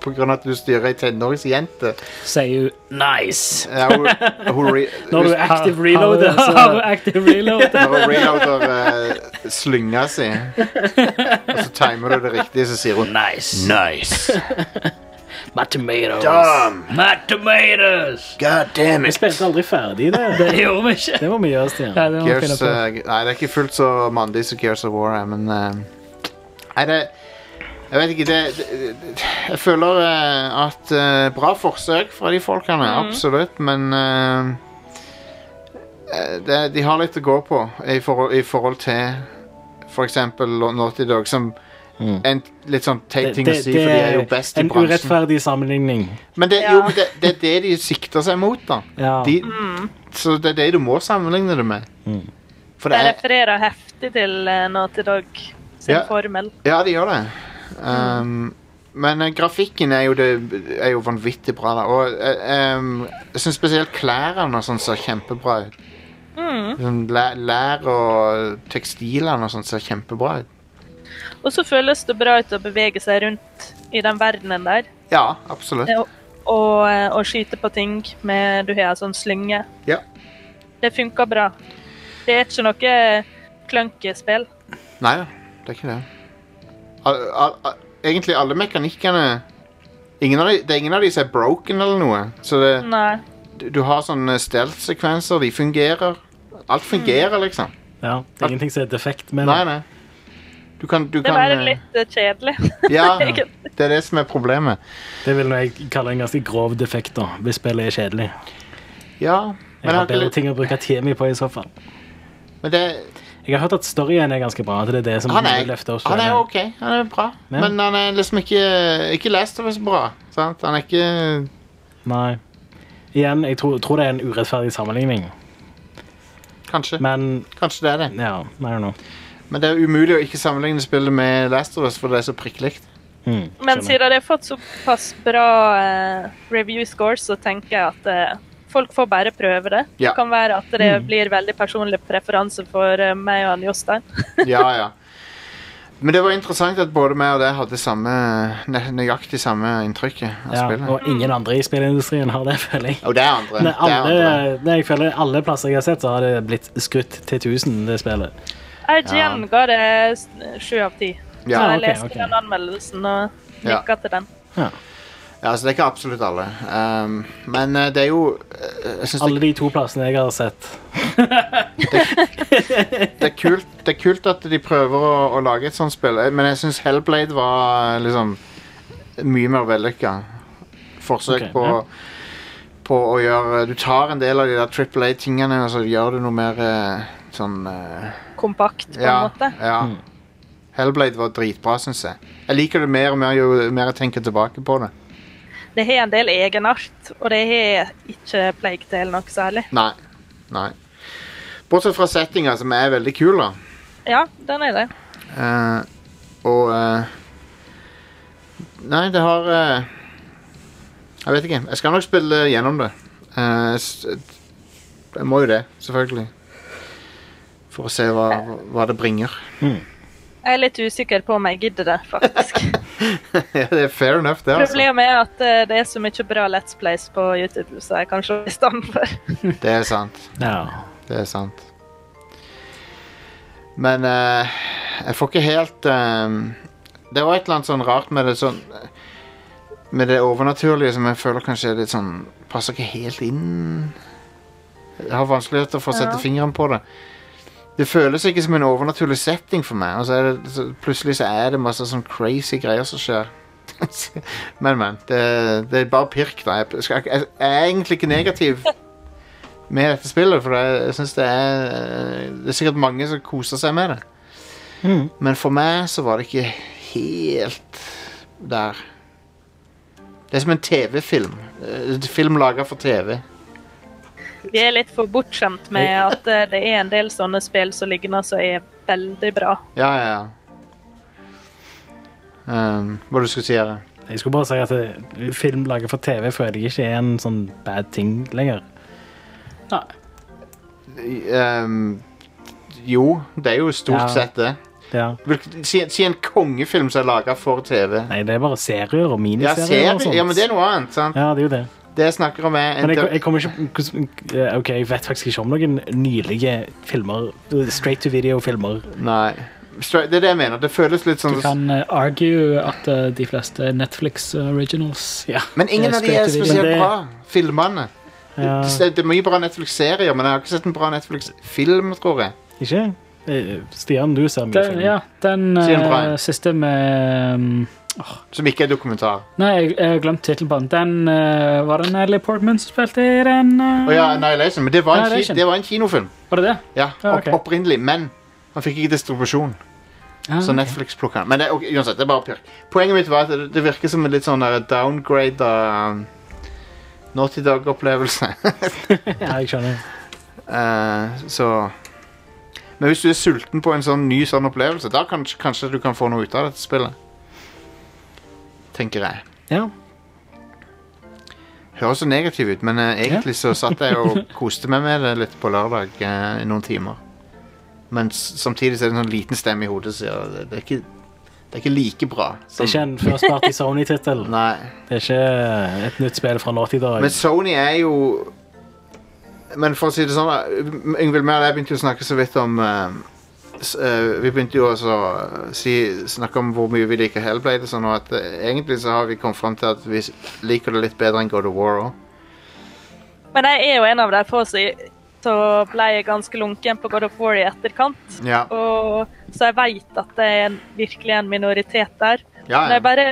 på grunn av at du styrer ei tenåringsjente. Sier hun 'nice'? Ja, hun, hun re, Når du er active reloader, Har- har- så har du active reloader. Når hun reloader eh, slynga si, og så timer du det riktig, så sier hun nice. nice. My tomatoes. Damn. My tomatoes. God damn Vi spilte aldri ferdig det. (laughs) Det gjorde vi ikke. Det må vi gjøre, Stian. Ja, det må vi finne Gears, på. eh, nei, det er ikke fullt så mandig som Gears of War er, men eh, Nei, det Jeg vet ikke, det, det, det Jeg føler eh, at eh, Bra forsøk fra de folkene, Mhm. absolutt, men eh, eh, det, De har litt å gå på i forhold, i forhold til for eksempel Naughty Dog, som en litt sånn teit ting å si, for de er jo best i en bransjen. urettferdig sammenligning. Men det, jo, men det, det er det de sikter seg mot, da. Ja. De, Så det er det du må sammenligne det med. For Det det er, refererer heftig til eh, Naughty Dog sin Ja. formel. Ja, de gjør det. Um, Men eh, grafikken er jo, det, er jo vanvittig bra. da Og eh, um, Jeg syns spesielt klærne og sånn ser kjempebra ut. Mm. Sånn læ- Lær og tekstilene og sånn ser kjempebra ut. Og så føles det bra ut å bevege seg rundt i den verdenen der. Ja, absolutt. Eh, Og, eh, og skyte på ting med Du har en sånn slynge. Ja. Det funker bra. Det er ikke noe klønkespill. Nei da, det er ikke det. Al- al- al- egentlig alle mekanikkene ingen av de, Det er ingen av de som er broken eller noe. Så det, Nei. du- du har sånne stealth-sekvenser. De fungerer. Alt fungerer, Mm. liksom. Ja, det er ingenting som er defekt med Nei, nei. Du kan, du Det kan var eh, litt eh, kjedelig. (laughs) (laughs) Ja, Egentlig. det er det som er problemet. Det vil jeg kalle en ganske grov defekt, da, hvis spillet er kjedelig. Ja, Jeg men, jeg har har bedre ikke, ting å bruke tida mi på, i så fall. men det, Jeg har hørt at storyen er ganske bra. at det er det som han, er, løfter oss. han er ok. Han er bra. Ja. Men han er liksom ikke Ikke Last of Us bra. Sant? Han er ikke Nei. Igjen, jeg tror, tror det er en urettferdig sammenligning. Kanskje. Men Kanskje det er det. ja, I don't know. Men det er umulig å ikke sammenligne spillet med Last of Us, for det er så prikklikt. Mm, Men skjønner. siden det har fått såpass bra eh, review scores, så tenker jeg at eh, folk får bare prøve det. Ja. Det kan være at det Mm. blir veldig personlig preferanse for eh, meg og han Jostein. (laughs) Ja, ja. Men det var interessant at både meg og deg hadde samme, nø- nøyaktig samme inntrykket av Ja, spillet. og ingen andre i spillindustrien har det, (laughs) føler jeg. Og det er andre. Nei, det er alle, andre. nei, jeg føler alle plasser jeg har sett, så har det blitt skrytt til 1000, det spillet. IGN ga det s- sju av ti. Ja, så jeg ok, leste ok. den anmeldelsen og Ja. nikka til den. Ja, så det er ikke absolutt alle. Um, men eh, det er jo eh, jeg synes det, Alle de to plassene jeg har sett. det, er kult, det er kult at de prøver å, å lage et sånt spill, eh, men jeg syns Hellblade var eh, liksom mye mer vellykka. Forsøk Ok, på, ja. på å gjøre Du tar en del av de der Triple A-tingene, og så gjør du noe mer eh, sånn eh, Kompakt, på ja, en måte. ja. Mm. Hellblade var dritbra, syns jeg. Jeg liker det mer og mer jo mer jeg tenker tilbake på det. Det har en del egenart, og det har ikke Plague Tale noe særlig. Nei. Nei. Bortsett fra settinga, som er veldig kul, da. Ja, den er det. Eh, og eh, Nei, det har eh, Jeg vet ikke. Jeg skal nok spille gjennom det. Eh, jeg s- jeg må jo det, selvfølgelig. For å se hva, hva det bringer. (laughs) Jeg er litt usikker på om jeg gidder det, (laughs) faktisk. ja, det er fair enough, det. Altså. Problemet er at eh, det er så mye bra Let's Plays på YouTube, så jeg kan se i stand for. Det er sant. Ja. Det er sant. Men eh, jeg får ikke helt eh, Det var et eller annet sånn rart med det sånn Med det overnaturlige som jeg føler kanskje er litt sånn Passer ikke helt inn. Jeg har vanskeligheter for å sette Ja. fingeren på det. Det føles ikke som en overnaturlig setting for meg. Og så er det, så plutselig så er det masse sånn crazy greier som skjer. (laughs) men, men. Det, det er bare pirk, da. Jeg, skal, ikke- jeg, jeg er egentlig ikke negativ med dette spillet, for jeg, jeg synes det er eh, Det er sikkert mange som koser seg med det. Mm. Men for meg så var det ikke helt der. Det er som en TV-film. Eh, Film laga for TV. Vi er litt for bortskjemt med at eh, det er en del sånne spill som ligner som er veldig bra. Ja, ja, ja. Um, hva du skulle si, Are? Jeg skulle bare si at eh, film laget for TV føler jeg ikke er en sånn bad ting lenger. Um, jo, det er jo stort Ja. sett det. Ja. Hvilk- Si, si en kongefilm som er laga for TV. Nei, det er bare serier og Ja, miniserier. ser og du? sånt. Ja, men det er noe annet. sant? Ja, det er jo det. Det jeg snakker om, er Men jeg, en jeg kommer ikke hvordan- eh, Ok, jeg vet faktisk ikke om noen nylige filmer. eh, Straight to video-filmer. Nei. Stra- Det er det jeg mener. Det føles litt sånn Du kan eh, argue at eh, de fleste Netflix eh, originals Men ingen eh, av de er straight to video. spesielt bra, filmene. Ja. Det, det, det er mye bra Netflix-serier, men jeg har ikke sett en bra Netflix-film, tror jeg. Ikke? Eh, Stian, du ser mye Den, film. ja, den Si en eh, bra en. siste med um, Som ikke er dokumentar. Nei, jeg, jeg har glemt tittelen på den. Den eh, Var det Natalie Portman som spilte i den? eh? Å ja, Annihilation. Men det var, en, ki Annihilation. det var en kinofilm. Var det det? Ja, Ja, opp, ok. Opprinnelig. Men han fikk ikke distribusjon. Ah, Så ok. Netflix plukka den. Men det, ok, uansett, det er bare pirk. Poenget mitt var at det, det virker som en litt sånn der downgrade av um, Naughty Dog-opplevelse. ja, jeg skjønner. Eh, så Men hvis du er sulten på en sånn ny sånn opplevelse, da kan, kanskje du kan få noe ut av dette spillet. Tenker jeg. Ja. Høres så negativ ut, men eh, egentlig så satt jeg (laughs) og koste meg med det litt på lørdag eh, i noen timer. Men s- samtidig så er det en sånn liten stemme i hodet som sier det, det, er ikke, det er ikke like bra. Det er ikke en First Party Sony-tittel. Nei. Det er ikke et nytt spill fra Naughty Dog. Men Sony er jo Men for å si det sånn, da, Yngvild Mehl og jeg begynte jo å snakke så vidt om eh, s- eh, Vi begynte jo også å si, snakke om hvor mye vi liker Hellblade og sånn, og at eh, egentlig så har vi kommet fram til at vi s- liker det litt bedre enn God of War òg. Men jeg er jo en av de få som så ble jeg ganske lunken på God of War i etterkant. Ja. Og, så jeg vet at det er en, virkelig en minoritet der. Ja, ja. Men jeg bare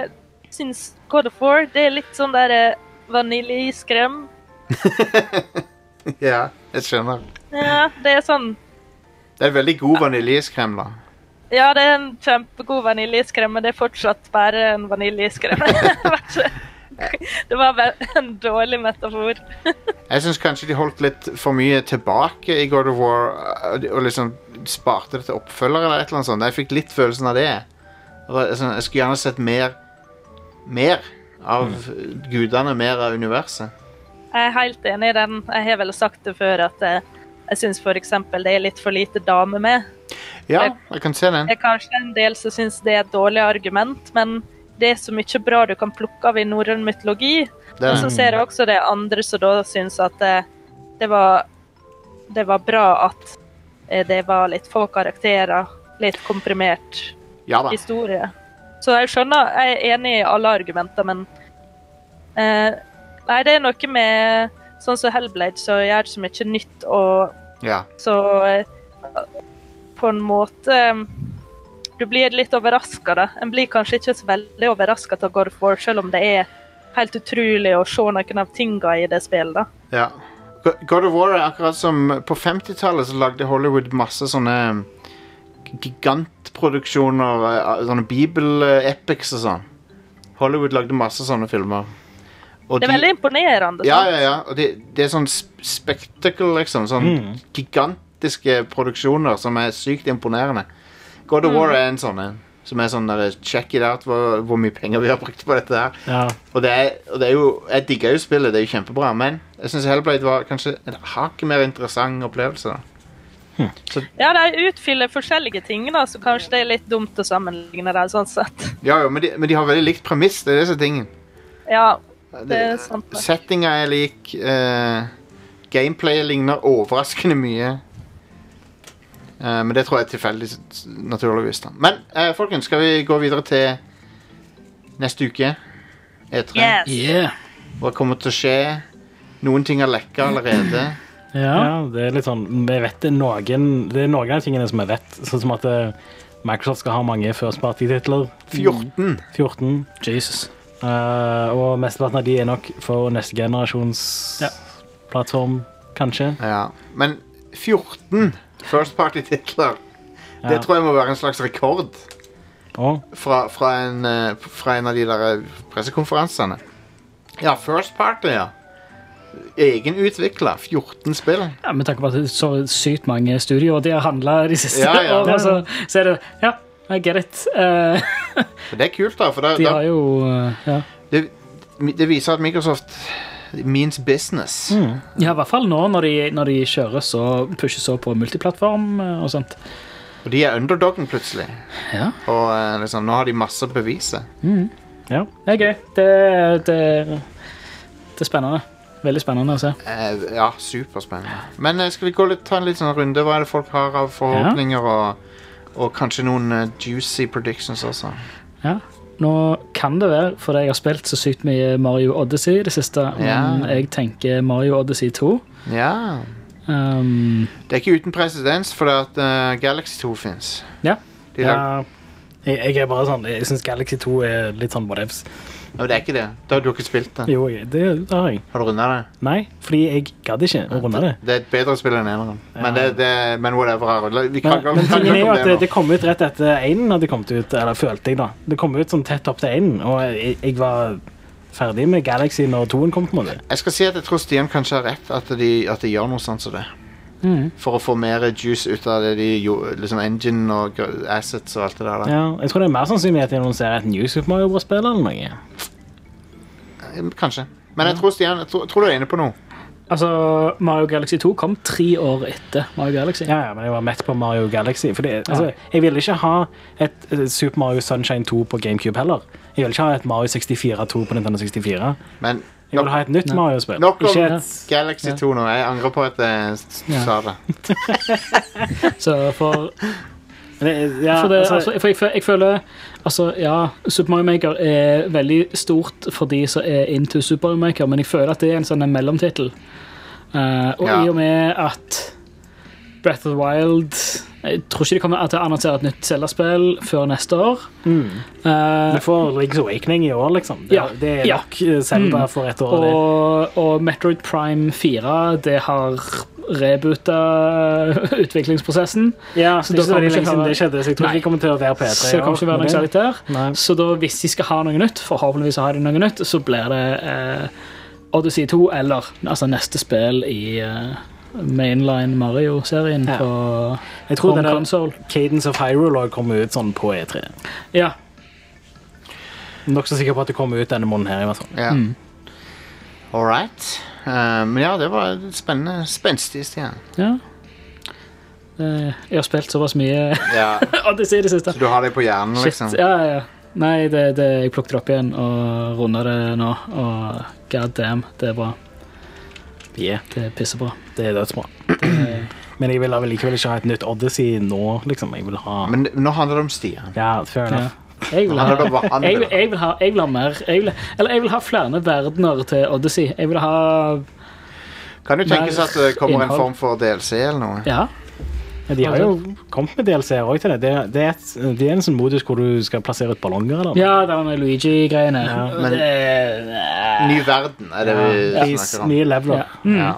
syns God of War det er litt sånn der eh, vaniljeiskrem. (laughs) ja, jeg skjønner. Ja, det er sånn Det er veldig god vaniljeiskrem, da. Ja, det er en kjempegod vaniljeiskrem, men det er fortsatt bare en (laughs) vaniljeiskrem. det var bare en dårlig metafor. Jeg syns kanskje de holdt litt for mye tilbake i God of War og og liksom sparte det til oppfølger eller et eller annet sånt. Jeg fikk litt følelsen av det. Og det er sånn, Jeg skulle gjerne sett mer mer av gudene, mer av universet. Jeg er helt enig i den. Jeg har vel sagt det før at eh, jeg syns f.eks. det er litt for lite damer med. Ja, jeg kan se den. Det er kanskje en del som syns det er et dårlig argument, men det er så mye bra du kan plukke av i norrøn mytologi. Det er- Og så ser jeg også det andre som da syns at eh, det var, det var bra at eh, det var litt få karakterer, litt komprimert Ja da. historie. Så jeg skjønner, jeg er enig i alle argumenter, men eh, Nei, det er noe med sånn som Hellblade, som gjør så mye nytt, og Ja. så eh, På en måte eh, Du blir litt overraska, da. En blir kanskje ikke så veldig overraska av God of War, selv om det er helt utrolig å se noen av tinga i det spillet, da. ja. Go- God of War er akkurat som På 50-tallet så lagde Hollywood masse sånne mm, gigantproduksjoner, eh, sånne bibel-epics og sånn. Hollywood lagde masse sånne filmer. Og det er veldig imponerende. Ja, sant? ja, ja. Og det, det er sånn sp- spectacle, liksom. Sånn gigantiske produksjoner som er sykt imponerende. God of War er en sånn en. Som er sånn der, check it out hvor, hvor mye penger vi har brukt på dette her. Ja. Og, det er, og det er jo Jeg digger jo spillet, det er jo kjempebra, men jeg syns Hellblade var kanskje en hakket mer interessant opplevelse. da. Så, Ja, de utfyller forskjellige ting, da, så kanskje det er litt dumt å sammenligne det sånn sett. ja, jo, men de, men de har veldig likt premiss, det er det som er tingen. Ja, det er sant. det. Settinga er lik. eh, gameplay ligner overraskende mye. Eh, men det tror jeg er tilfeldig, s- s- naturligvis. da. Men eh, folkens, skal vi gå videre til neste uke? E3. Yes. Yeah. Hva kommer til å skje? Noen ting har lekka allerede. Ja, det er litt sånn Vi vet det er noen Det er noen av tingene som jeg vet. Sånn som at eh, Microsoft skal ha mange first party-titler. 14. 14. Jesus. Eh, og mesteparten av de er nok for neste generasjons plattform, kanskje. Ja. Men 14 First Party-titler! Ja. Det tror jeg må være en slags rekord Og fra, fra, en, eh, fra en av de der eh, pressekonferansene. Ja, First Party, ja. Egenutvikla 14 spill. Ja, Med tanke på at det er så sykt mange studioer de har handla de siste Ja, ja. årene, så, så er det Ja, I get it. (laughs) Eh, For det er kult, da. For det, de det- har jo eh, ja. det, det viser at Microsoft means business. ja, i hvert fall nå når de, når de kjører så pusher så på multiplattform eh, og sånt. Og de er underdogen, plutselig. Ja. Og eh, liksom, nå har de masse beviser. Ja, det er gøy. Det, det, det er spennende. Veldig spennende å se. Eh, ja, superspennende. Men eh, skal vi gå litt, ta en liten sånn runde? Hva er det folk har av forhåpninger? Og, og kanskje noen eh, juicy predictions også. Ja. Nå kan det være, fordi jeg har spilt så sykt mye Mario Odyssey i det siste, men Ja. jeg tenker Mario Odyssey 2. Ja. Um, Det er ikke uten presedens, for det at eh, Galaxy 2 fins. ja. De lag- Jeg, jeg er bare sånn, jeg syns Galaxy 2 er litt sånn whatevs. Nei, det er ikke det. Da har du ikke spilt det. Jo, jeg- det, det har jeg. Har du runda det? Nei, fordi jeg gadd ikke å runde det. Det er et bedre spill enn eneren. Men, det, det, men whatever. Are. Vi Men, kan men kan tingen er ikke jo om at det det, nå. det kom ut rett etter Einen hadde kommet ut, eller følte jeg da. Det kom ut sånn tett opp til Einen, og jeg, jeg var ferdig med Galaxy når toen kom på en måte. Jeg skal si at jeg tror Stian kanskje har rett, at de, at de gjør noe sånt som det. Mm. For å få mer juice ut av det de gjorde, liksom engine og gr- assets og alt det der. Da. Ja, jeg tror det er mer sannsynlig at de annonserer et New Super Mario Bros-spill eller noe. Mm, Kanskje. Men jeg tror Stian, jeg tror, tror du er inne på noe. Altså, Mario Galaxy 2 kom tre år etter Mario Galaxy. Ja, ja, men jeg var mett på Mario Galaxy. Fordi, Ja. altså, jeg ville ikke ha et, eh, Super Mario Sunshine 2 på GameCube heller. Jeg ville ikke ha et Mario 64 2 på Nintendo 64. Men Jeg vil ha et nytt Nei. Mario-spill. Nok om Ikke et Galaxy 2 nå. Jeg angrer på at jeg s- Ja. sa det. Så for, ja, for, det, altså- altså, for jeg, fø- jeg føler Altså, ja, Super Mario Maker er veldig stort for de som er into Super Mario Maker, men jeg føler at det er en sånn en mellomtittel. Eh, og Ja. i og med at Breath of the Wild Jeg tror ikke de kommer til å annonsere et nytt Zelda-spill før neste år. Mm. Eh, Vi får Link's Awakening i år, liksom. Det, Ja, det er ja. nok eh, Zelda Mm. for et år. det. og, og Metroid Prime 4 det har reboota (laughs) utviklingsprosessen. Ja, Så det er ikke da så veldig kommer lenge siden ikke- liksom- det skjedde, så jeg tror ikke Nei. de kommer til å være på E3. Så det kommer ikke være noe særlig der. Nei. Så da, hvis de skal ha noe nytt, forhåpentligvis har de noe nytt, så blir det eh, Odyssey 2 eller altså neste spill i eh, mainline Mario-serien Ja. på Jeg tror home den der- console. Cadence of Hyrule også kommer ut sånn på E3. Ja. Nokså sikker på at det kommer ut denne måneden her. i hvert fall. Ja. Mm. All right. Eh, men ja, det var spennende. Spenstig, Stian. ja. Eh, Jeg har spilt såpass mye (laughs) Ja. Odyssey i det siste. Så du har det på hjernen, Shit, liksom? ja, ja, ja. Nei, det, det, jeg plukket det opp igjen og runder det nå. Og god damn, det er bra. Yeah. Det er pissebra. Det er dødsbra. (clears throat) Men jeg vil da vel likevel ikke ha et nytt Odyssey nå, liksom. Jeg vil ha Men nå handler det om Stian. Ja, fair Ja. enough. Jeg vil, Han er da bare- ha, han er jeg, vil- da. jeg, vil ha, jeg vil ha mer. Jeg vil, eller jeg vil ha flere verdener til Odyssey. Jeg vil ha Kan jo tenkes Mer at det kommer en innhold. form for DLC eller noe. Ja. Ja, de har Altså- jo kommet med DLC-er òg til det. Det, det, er et, det er en sånn modus hvor du skal plassere ut ballonger. Eller? Ja, det var med Luigi-greiene. Eh, Ja. Men- Det- Ny verden er det Ja, vi i s- snakker om. nye leveler. Ja. Mm. Ja.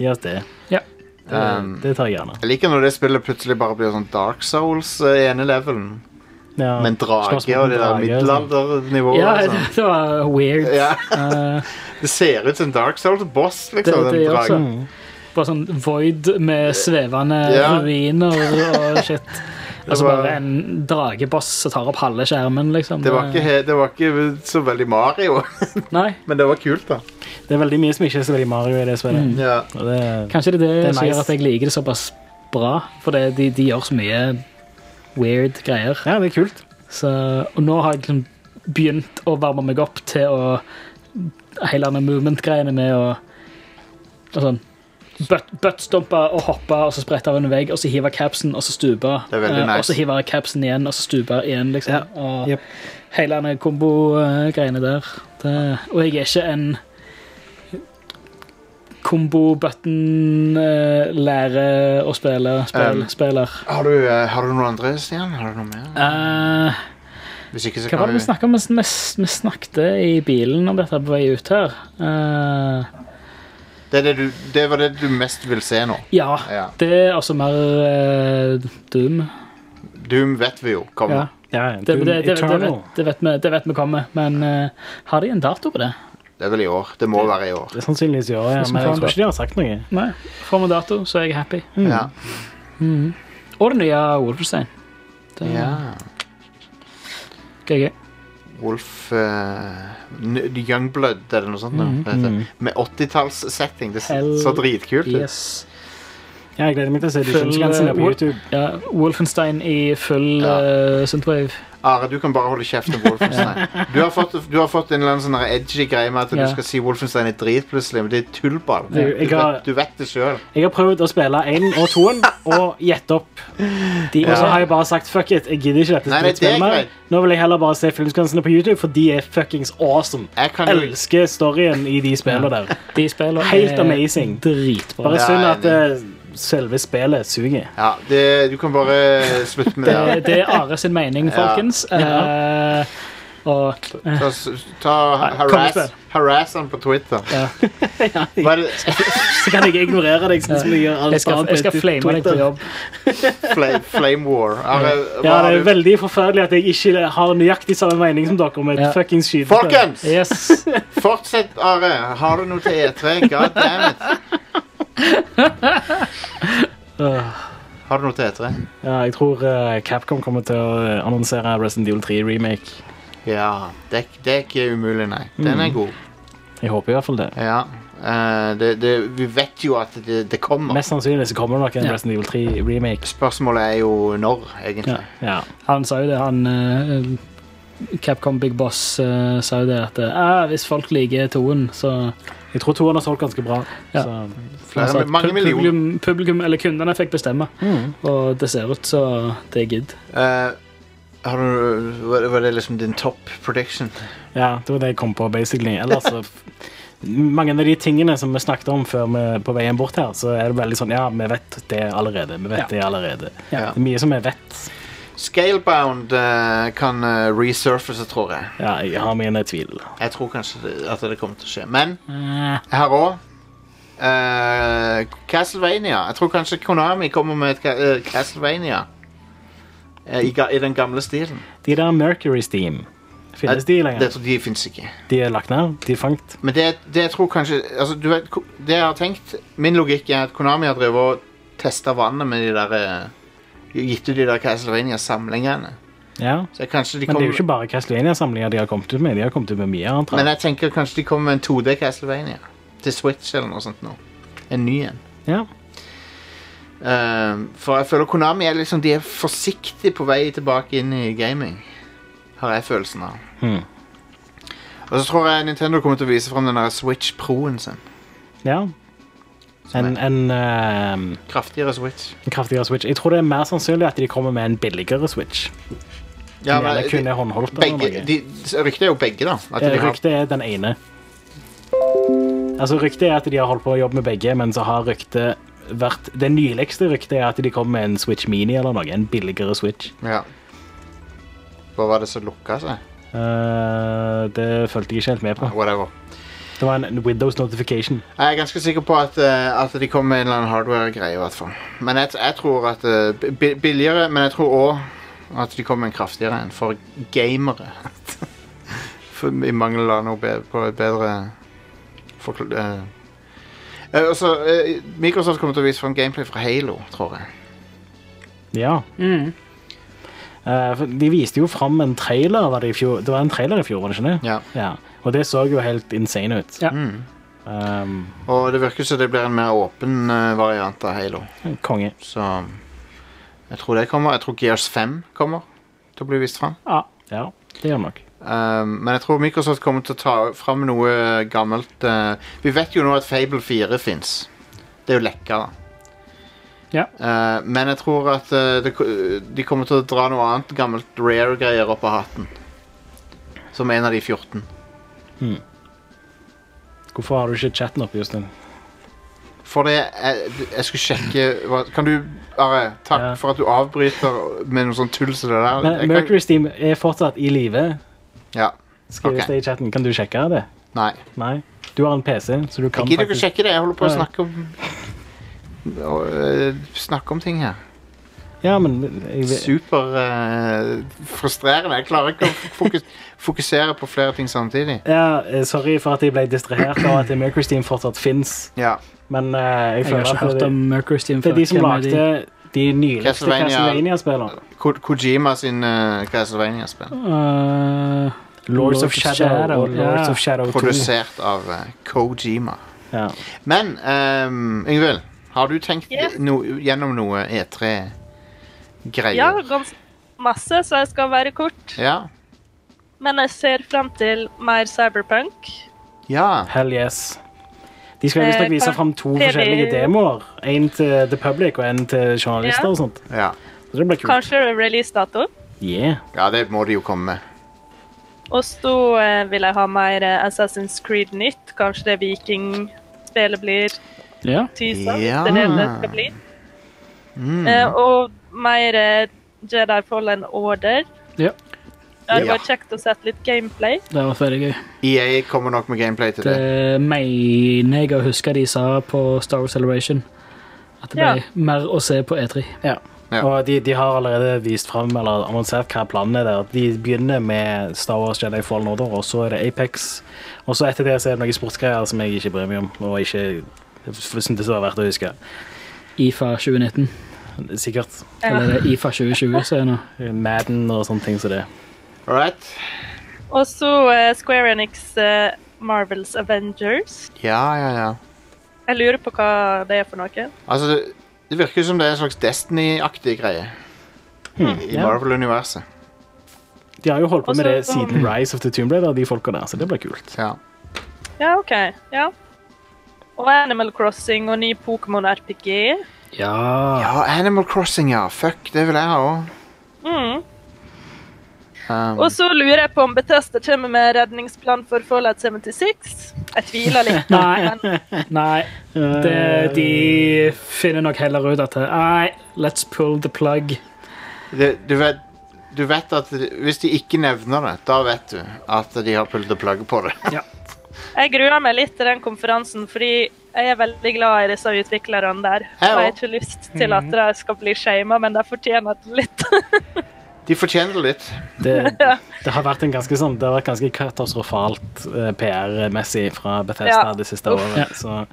Yes, det. Ja. Det, Um, det tar jeg gjerne. Jeg liker når det spillet plutselig bare blir sånn Dark Souls eh, i ene levelen. Ja. Men drage Slåsskampen og det der drage, middelaldernivået altså. ja, og sånn. (laughs) det, det var weird. Ja. Eh, Det ser ut som Dark Souls-boss, liksom. den det, det er også dragen. bare sånn void med svevende Ja. ruiner (laughs) og shit. Altså var- bare en drageboss som tar opp halve skjermen, liksom. Det var, ikke, he- det var ikke så veldig Mario, (laughs) Nei, men det var kult, da. Det er veldig mye som ikke er så veldig Mario i det spillet. Mm. Ja. Og det, kanskje det er det, Eh, Det er som nice. gjør at jeg liker det såpass bra. For det, de, de gjør så mye weird greier. ja, det er kult. Så, og nå har jeg liksom begynt å varme meg opp til å Hele denne movement-greiene med å og sånn butt- Buttstumpe og hoppe og så sprette av en vegg, og så hive capsen, og så stupe. Det er veldig eh, Og nice. så hive capsen igjen, og så stupe igjen, liksom. Og Jep. hele denne kombo-greiene der. Det, og jeg er ikke en kombo-button-lære å spille spill, Um, eh, spiller. Har du, eh, har du noe andre, Stian? Har du noe mer? Eh, Hvis ikke, så hva var kan det vi du snakket om? Vi, sn- vi snakket i bilen om dette på vei ut her. Eh, det, er det, du, det var det du mest vil se nå. ja, Ja. det er altså mer eh, Doom. Doom vet vi jo Ja. kommer. Ja, Det, det, Doom det, det, det, Eternal. vet, det, vet vi, det vet vi kommer, men eh, har de en dato på det? Det er vel i år. Det må være i år. Det er sannsynligvis i år, ja, Hvis vi men får jeg tror en- ikke de har sagt noe. Nei. Får vi dato, så Mm. er jeg happy. Ja. Og det nye Wolfenstein. Det, ja. GG. Wolf eh, N- Youngblood, eller noe sånt. nå, Mhm, det heter. mhm. Med 80-tallssetting. Det Mm-hmm. Hell så dritkult ut. yes. Ja, jeg gleder meg til å se de Full, kunstgrensene eh, på Wol- YouTube. ja, Wolfenstein i full eh, synthwave. Are, du kan bare holde (laughs) kjeft om Wolfenstein. Du har fått, du har fått en eller annen sånn her edgy greie med at Ja. du skal si Wolfenstein er drit, plutselig, men det er tullball. Du, Det- jeg vet- har- du vet det sjøl. Jeg har prøvd å spille én og toen og gjette opp. De, Og så Ja. har jeg bare sagt fuck it. Jeg gidder ikke dette Nei, nei, det er spillspillet mer. greit. Nå vil jeg heller bare se filmkunstnerne på YouTube, for de er fuckings awesome. Jeg kan jo- Elsker storyen i de spillene der. De spillene Helt er amazing. Dritbra. Bare Ja, synd jeg at eh, selve spillet suger. Ja, det, du kan bare eh, slutte med det. Det, det er Are sin Ja. mening, folkens. Eh, og Ta, s- ta Nei, kom harass, igjen. harass han på Twitter. (laughs) Ja. Hva er det? så kan jeg ignorere deg. Sånn som jeg, gjør alt Jeg skal- annet jeg skal på flame deg på Twitter. jobb. Flame, flame war. Are, hva Ja, har det du? er veldig forferdelig at jeg ikke har nøyaktig samme mening som dere om et Ja. fuckings skytespill. Folkens! Yes. Fortsett, Are. Har du noe til E3? God damn it. Har du noe til E E3? Ja, jeg tror eh, Capcom kommer til å eh, annonsere Resident Evil 3 remake. Ja, det, er- det er ikke umulig, nei. Den er Mm. god. Jeg håper i hvert fall det. Ja. eh, det, det, vi vet jo at det, det kommer. Mest sannsynlig så kommer det nok en Ja. Resident Evil 3 remake. Spørsmålet er jo når, egentlig. Ja. Han sa jo det, han eh, Capcom Big Boss eh, sa jo det at eh, hvis folk liker toen, så Jeg tror toeren har solgt ganske bra. Ja. Så. Flere- Han sa at mange pub- millioner. Publikum, publikum, eller kundene, fikk bestemme. Mm. Og det ser ut så det er gidd. Eh, har du, var, var det liksom din top prediction? ja, det var det jeg kom på, basically. Ellers så Mange av de tingene som vi snakket om før vi, på veien bort her, så er det veldig sånn Ja, vi vet det allerede. Vi vet Ja. det allerede. Ja. Det er mye som vi vet. Scalebound eh, kan eh, resurface, tror jeg. Ja, jeg har mine tvil. Jeg tror kanskje det, at det kommer til å skje. Men jeg Eh. har òg Castlevania. Jeg tror kanskje Konami kommer med et ca- eh, Castlevania. Eh, I, ga- I den gamle stilen. De der Mercury Steam, finnes de Det lenger? tror de fins ikke. De er lagt ned? De er fangt? Men det, det jeg tror kanskje altså, du vet, ko- Det jeg har tenkt Min logikk er at Konami har drevet og testa vannet med de der eh, Gitt ut de der Castlevania-samlingene. Ja. Så jeg, kanskje de Men det er kommer jo ikke bare Castlevania-samlinger de har kommet ut med. De har kommet ut med mye annet. Men jeg tenker kanskje de kommer med en 2D Castlevania. Til Switch eller noe sånt nå. En ny en. Ja. Ehm, for jeg føler Konami er liksom De er forsiktig på vei tilbake inn i gaming. Har jeg følelsen av. Hmm. Og så tror jeg Nintendo kommer til å vise fram den der Switch Pro-en sin. ja. En, en, ehm, Kraftigere Switch. en kraftigere Switch. Jeg tror det er mer sannsynlig at de kommer med en billigere Switch. Ja, men, men eller kun de- er håndholdt. eller Begge, noe. de, ryktet er jo begge, da. At de Eh, har, Ryktet er den ene. Altså, ryktet er at de har holdt på å jobbe med begge, men så har ryktet vært Det nyligste ryktet er at de kommer med en Switch Mini eller noe. En billigere Switch. ja. Hva var det som lukka seg? Eh, det fulgte jeg ikke helt med på. Whatever. Det var en Windows notification. Jeg er ganske sikker på at, eh, at de kom med en eller annen hardware-greie. i hvert fall. Men jeg, jeg tror at eh, bi- bi- Billigere, men jeg tror òg at de kom med en kraftigere en for gamere. (laughs) for, I mangel av noe bedre, på et bedre forkl- eh. Eh, og så, eh, Microsoft kommer til å vise fram gameplay fra Halo, tror jeg. Ja. Eh, for de viste jo fram en trailer var det i fjor. Det var en trailer i fjor, var det ikke det? Ja. Mm. Og det så jo helt insane ut. Ja. Um, Og det virker som det blir en mer åpen eh, variant av Halo. konge. Så jeg tror det kommer. Jeg tror Gears 5 kommer til å bli vist fram. Ja. ja, det gjør det nok. Um, men jeg tror Microsoft kommer til å ta fram noe gammelt. eh, vi vet jo nå at Fable 4 fins. Det er jo lekka, da. Ja. Eh, men jeg tror at eh, det, ko- de kommer til å dra noe annet gammelt rare-greier opp av hatten. Som en av de 14. Hvorfor har du ikke chatten oppe, Justin? For det Jeg, jeg skulle sjekke hva, Kan du, Are, takk for at du avbryter med noe sånn tull som det der. Men Jeg kan- Mercury Steam er fortsatt i live. Ja. Skrives Ok. det i chatten. Kan du sjekke det? Nei. Nei? Du har en PC, så du kan Jeg gidder ikke faktisk sjekke det. Jeg holder på å Nei. snakke om å, øh, Snakke om ting her. Ja, men jeg, Super øh, frustrerende. Jeg klarer ikke å fokus, fokusere på flere ting samtidig. ja, eh, Sorry for at jeg ble distrahert av at Mercury Steam fortsatt fins. Ja. Men eh, jeg Jeg har føler ikke at hørt det, om Mercury Steam det før. er de som Hvem er de? lagde De nyligste Castlevania- Castlevania-spillene. Ko Kojima sin eh, Castlevania-spill. Mm. eh, Uh, Lords of Shadow. og Lords ja. of Shadow 2. Produsert av eh, Kojima. Ja. Men ehm, Yngvild, har du tenkt Ja. no gjennom noe E E3-greier? Ja, ganske masse, så jeg skal være kort. ja. Men jeg ser frem til mer cyberpunk. Ja. Hell yes. De skal visstnok Eh, vise kan- fram to ser vi- forskjellige demoer. En til the public og en til journalister Ja. og sånt. Ja. Så det blir kult. Kanskje releasedato. Yeah. ja, det må de jo komme med. Og så eh, vil jeg ha mer eh, Assassin's Creed nytt. Kanskje det vikingspillet blir Ja. tysa. Ja. Det er det det skal bli. Mm. Eh, og mer eh, Jedi Fallen Order. Ja. Det hadde Ja. vært kjekt å sette litt gameplay. Det var veldig gøy. EA E kommer nok med gameplay til det. Det mener jeg å huske de sa på Star Wars Celebration. At det ble Ja. mer å se på E E3. Ja. Og de, de har allerede vist frem, eller annonsert hva planene er der. De begynner med Star Wars Jedi Fallen Order, og så er det Apex. Og så etter det så er det noen sportsgreier som jeg ikke bryr meg om, og ikke syntes det var verdt å huske. IFA 2019. Sikkert. Eller det er IFA 2020 som er nå. Madden og sånne ting som det. All right. Og så eh, Square Enix eh, Marvels Avengers. Ja, ja, ja. Jeg lurer på hva det er for noe. Altså, det, det virker som det er en slags Destiny-aktig greie i ja. Marvel-universet. De har jo holdt på med Også det som- siden Rise of the Tomb Raider, de folka der, så det blir kult. Ja. Ja, OK. Ja. Og Animal Crossing og ny Pokémon RPG. Ja. Animal Crossing, ja. Fuck, det vil jeg ha òg. Mm. Um, Og så lurer jeg på om Bethesda kommer med redningsplan for Fallout 76. Jeg tviler litt. Nei. Nei. Det, de finner nok heller ut at Nei, let's pull the plug. det, du, vet, du vet at det- hvis de ikke nevner det, da vet du at de har pult og plugg på det. (laughs) Jeg gruer meg litt til den konferansen, fordi jeg er veldig glad i disse utviklerne der. Og jeg har ikke lyst til Mhm. at de skal bli shama, men de fortjener det litt. (laughs) De fortjener det litt. Det, det har vært en ganske sånn Det har vært ganske katastrofalt eh, PR-messig fra Bethesda Ja. det siste Uff. året, Ja. så